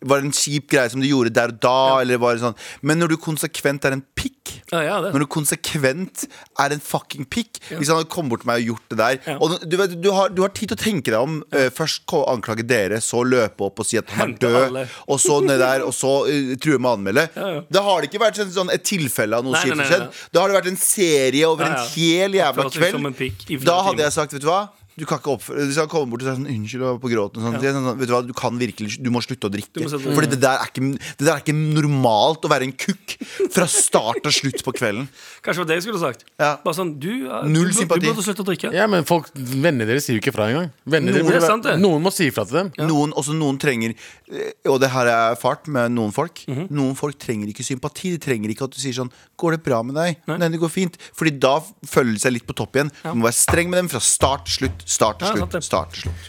Speaker 2: var det en kjip greie som du gjorde der og da. Eller var det sånn. Men når du konsekvent er en pikk
Speaker 3: Ja, ja, det.
Speaker 2: Når du konsekvent er en fucking pikk Hvis han hadde kommet bort til meg og gjort det der Og du, vet, du, har, du har tid til å tenke deg om eh, Først ko- anklage dere Så løpe opp og si at han er
Speaker 3: Hente
Speaker 2: død
Speaker 3: alle.
Speaker 2: Og så ned der Og så eh, true med å anmelde
Speaker 3: ja.
Speaker 2: Da har det ikke vært sånn, sånn, et tilfelle av noe
Speaker 3: Nei, nei,
Speaker 2: kjipt som
Speaker 3: nei, nei.
Speaker 2: skjedd Da har det vært en serie over
Speaker 3: Ja, ja.
Speaker 2: en hel jævla
Speaker 3: Oppført seg som en
Speaker 2: kveld
Speaker 3: pikk i flere
Speaker 2: Da hadde
Speaker 3: timer.
Speaker 2: jeg sagt, vet du hva du kan ikke oppføre Hvis han kommer bort og sier sånn, unnskyld og på gråten og sånn, sier jeg sånn, Vet du hva, du kan virkelig Du må slutte å drikke
Speaker 3: Du må slutte å
Speaker 2: Fordi det der, er ikke, det der er ikke normalt Å være en kukk Fra start til slutt på kvelden
Speaker 3: Kanskje det var det jeg skulle sagt.
Speaker 2: Ja.
Speaker 3: Bare sånn, du, ja,
Speaker 2: Null
Speaker 3: du, bør-
Speaker 2: sympati.
Speaker 3: Du burde slutte å drikke.
Speaker 4: Ja, men folk, Vennene deres sier jo ikke fra engang. Vennene
Speaker 3: Noen-
Speaker 4: dere
Speaker 3: Det
Speaker 4: burde
Speaker 3: er
Speaker 4: være-
Speaker 3: sant, det.
Speaker 4: Noen må si ifra til dem.
Speaker 2: Noen, også noen trenger eh, Og det her er fart med noen folk
Speaker 3: Mhm.
Speaker 2: Noen folk trenger ikke sympati De trenger ikke at du sier sånn Går det bra med deg? Nei, det går fint Fordi da føler de seg litt på topp igjen Du må være streng med dem fra start til slutt Start til
Speaker 3: Ja, sant
Speaker 2: slutt
Speaker 3: det.
Speaker 2: Start til slutt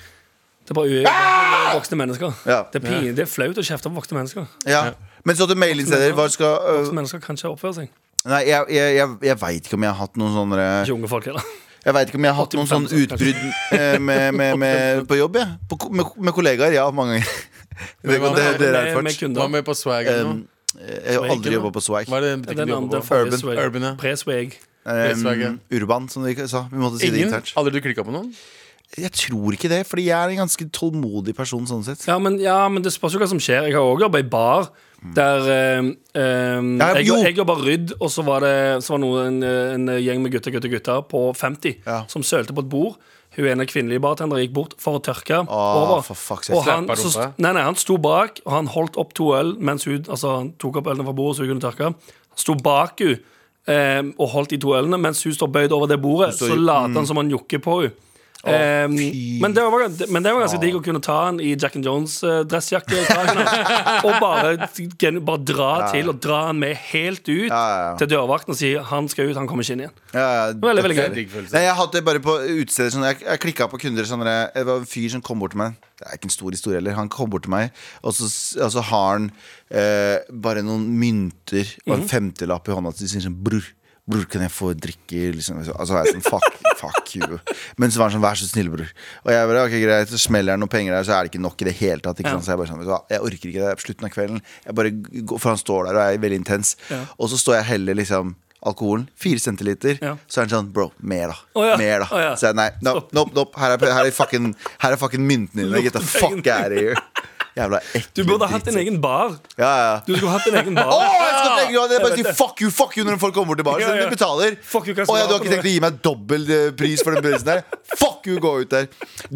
Speaker 3: Det er bare uøye voksne mennesker.
Speaker 2: Ah! Ja.
Speaker 3: Det, er pin, det er flaut å kjefte på voksne mennesker.
Speaker 2: ja. Men så til mailinnsteder Hva skal øh,
Speaker 3: Voksne mennesker kan ikke oppføre seg.
Speaker 2: Nei, jeg, jeg, jeg, jeg veit ikke om jeg har hatt noen sånne
Speaker 3: Ikke unge folk heller.
Speaker 2: Jeg vet ikke om jeg har hatt noen sånn
Speaker 3: 85%
Speaker 2: utbrudd eh, med, med, med, på jobb, jeg. På, ko- med, med kollegaer, ja, mange ganger. Det, det,
Speaker 4: med-
Speaker 2: det er
Speaker 3: Med- med
Speaker 2: erfart.
Speaker 4: Hva
Speaker 3: kunder.
Speaker 4: med på swag? eller noe?
Speaker 2: Jeg har aldri jobba på Swag.
Speaker 4: Hva er det den
Speaker 3: Ja,
Speaker 4: butikken
Speaker 3: Den
Speaker 4: du
Speaker 3: andre
Speaker 4: jobber på?
Speaker 3: forrige
Speaker 2: Urban.
Speaker 3: swag.
Speaker 4: Urban, ja.
Speaker 3: Pre-swag.
Speaker 2: Um,
Speaker 4: Swag, ja.
Speaker 2: urban, som de ikke sa. Vi måtte si det
Speaker 4: Ingen?
Speaker 2: internt.
Speaker 4: Aldri du klikka på noen?
Speaker 2: Jeg tror ikke det, fordi jeg er en ganske tålmodig person sånn sett.
Speaker 3: Ja, men, ja, men det spørs jo hva som skjer. Jeg har òg jobba i bar. Der eh, eh,
Speaker 2: Ja,
Speaker 3: Jeg,
Speaker 2: jo.
Speaker 3: jeg jobba rydd, og så var det så var noen, en, en gjeng med gutter, gutter, gutter på 50
Speaker 2: Ja.
Speaker 3: som sølte på et bord. Hun ene kvinnelige bartenderen gikk bort for å tørke over.
Speaker 2: for fuck's sake.
Speaker 3: og han,
Speaker 4: Slappa
Speaker 3: så,
Speaker 4: rumpa.
Speaker 3: nei, nei, han sto bak, og han holdt opp to øl mens hun altså, han tok opp ølene fra bordet så hun kunne tørke. Han sto bak hun eh, og holdt de to ølene mens hun står bøyd over det bordet. Så, later
Speaker 2: Mm.
Speaker 3: han som han jokker på henne. Eh,
Speaker 2: fy.
Speaker 3: men, det var, men det var ganske digg å kunne ta han i Jack and eh, Jones-dressjakke altså. og bare, gen- bare dra til og dra han med helt ut
Speaker 2: ja, ja.
Speaker 3: til dørvakten og si han skal ut, han kommer ikke inn igjen.
Speaker 2: Ja,
Speaker 3: Veldig, veldig
Speaker 4: Det er
Speaker 3: gøy.
Speaker 4: digg følelse.
Speaker 2: Nei, jeg hadde det bare på utesteder sånn, Jeg, jeg klikka på kunder sånn, der, Det var en fyr som kom bort til meg Det er ikke en stor historie heller Han kom bort til meg Og så, s- og så har han eh, bare noen mynter Og en femtelapp i hånda Så de sier sånn Bror, bror, kan jeg få drikke? Liksom. Og så var jeg sånn, fuck, fuck you Men så var han sånn, vær så snill, bror Og jeg bare, ok, greit Så smeller han noen penger der Så er det ikke nok i det hele tatt ikke
Speaker 3: Ja.
Speaker 2: sant? Så jeg bare sånn, vet du hva Jeg orker ikke det på slutten av kvelden Jeg bare, går, for han står der og er veldig intens Og så står jeg og heller liksom Alkoholen, 4 centiliter
Speaker 3: Ja.
Speaker 2: Så er han sånn, bro, mer da
Speaker 3: Å ja,
Speaker 2: mer, da.
Speaker 3: å ja.
Speaker 2: Så jeg, nei, no,
Speaker 3: Stopp.
Speaker 2: nope, nope. Her er, her er fucking, her er fucking myntene dine. Get the fuck out of here. Jævla ekle
Speaker 3: Du burde hatt din
Speaker 2: drittsekk.
Speaker 3: egen bar.
Speaker 2: Ja, ja.
Speaker 3: Du skulle hatt din egen bar.
Speaker 2: Å, jeg skal tenke på det! Bare si fuck you, fuck you når folk kommer tilbake.
Speaker 3: Ja,
Speaker 2: Så
Speaker 3: ja.
Speaker 2: de betaler.
Speaker 3: Fuck you, hva
Speaker 2: Å
Speaker 3: skal
Speaker 2: ja,
Speaker 3: du
Speaker 2: du har
Speaker 3: ha for
Speaker 2: ikke tenkt å gi meg dobbel eh, pris for den prisen der? Fuck you, gå ut der.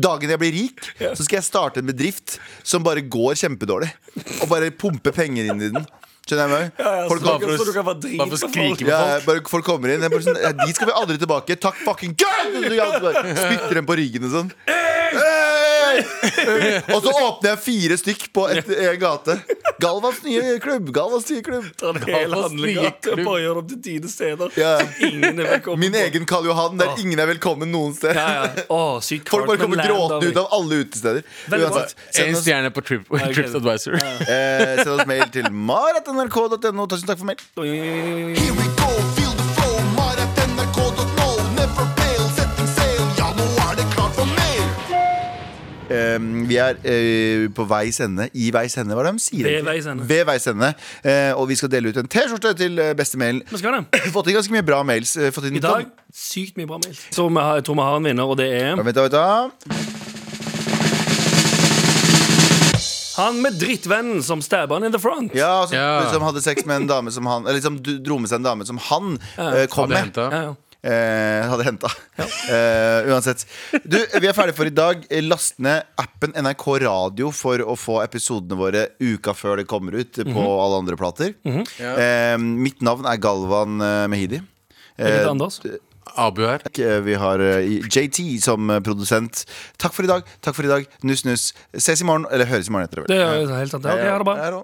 Speaker 2: Dagen jeg blir rik, så skal jeg starte en bedrift som bare går kjempedårlig. Og bare pumpe penger inn i den. Skjønner jeg meg? Folk
Speaker 3: så-
Speaker 2: kommer-
Speaker 3: så du kan bare drite
Speaker 4: bare for å
Speaker 3: på folk.
Speaker 4: skrike
Speaker 2: ja, jeg bare folk kommer inn. Jeg bare sånn, ja, de skal vi aldri tilbake. Takk fucking god! Og så bare Spytter dem på ryggen og sånn. Hey! Og så åpner jeg fire stykk på et, en gate. Galvans nye klubb! Galvans nye klubb
Speaker 3: Drar det hele
Speaker 4: Galvans nye
Speaker 3: handlinga
Speaker 4: klubb.
Speaker 3: Bare gjør det om til dine steder
Speaker 2: Ja.
Speaker 3: Så ingen er velkommen
Speaker 2: Min
Speaker 3: på.
Speaker 2: egen Karl Johan, der ingen er velkommen noen sted.
Speaker 3: ja, ja. Åh, sykt
Speaker 2: Folk bare kommer
Speaker 3: Cartman Land,
Speaker 2: gråtende ut
Speaker 3: da,
Speaker 2: av alle utesteder.
Speaker 3: Veldig bra.
Speaker 2: Uansett,
Speaker 4: Én
Speaker 2: send oss,
Speaker 4: stjerne på trip, TripsAdvisor.
Speaker 2: eh, send oss mail til maratnrk.no. Tusen takk for mail.
Speaker 3: vi.
Speaker 9: Here we go, feel the flow, maratnrk.no. Never fail, setting sail, ja, nå er det klart for mer.
Speaker 2: Um, vi er eh, på veis ende. I veis ende, hva er det de sier?
Speaker 3: Ved
Speaker 2: egentlig?
Speaker 3: veis ende.
Speaker 2: Ved veis ende. Eh, og vi skal dele ut en T-skjorte til eh, beste mailen.
Speaker 3: Men skal det
Speaker 2: Fått inn ganske mye bra mails. eh, Fått inn
Speaker 3: I dag, sykt mye bra mail Så vi har, jeg tror vi har en vinner, og det er
Speaker 2: Vent, da, vent, da.
Speaker 3: Han med drittvennen som stabber han in the front
Speaker 2: Ja, som,
Speaker 4: Ja.
Speaker 2: som hadde sex med en dame som han Eller liksom du- dro med seg en dame som han eh, kom
Speaker 4: Hadde
Speaker 2: med.
Speaker 4: henta.
Speaker 3: Ja, ja.
Speaker 2: Eh, hadde henta. Eh, uansett. Du, vi er ferdige for i dag. Last ned appen NRK Radio for å få episodene våre uka før det kommer ut
Speaker 3: Mhm.
Speaker 2: på alle andre plater. eh, mitt navn er Galvan eh, Mehidi.
Speaker 3: Birgitte Anders
Speaker 4: Abu her.
Speaker 2: Eh, Vi har eh, JT som eh, produsent. Takk for i dag. Takk for i dag. Nuss, nuss. Ses i morgen. Eller høres i morgen etter. det vel.
Speaker 3: Det er jo helt sant Ja, ok, ha det bra
Speaker 2: Ja, da.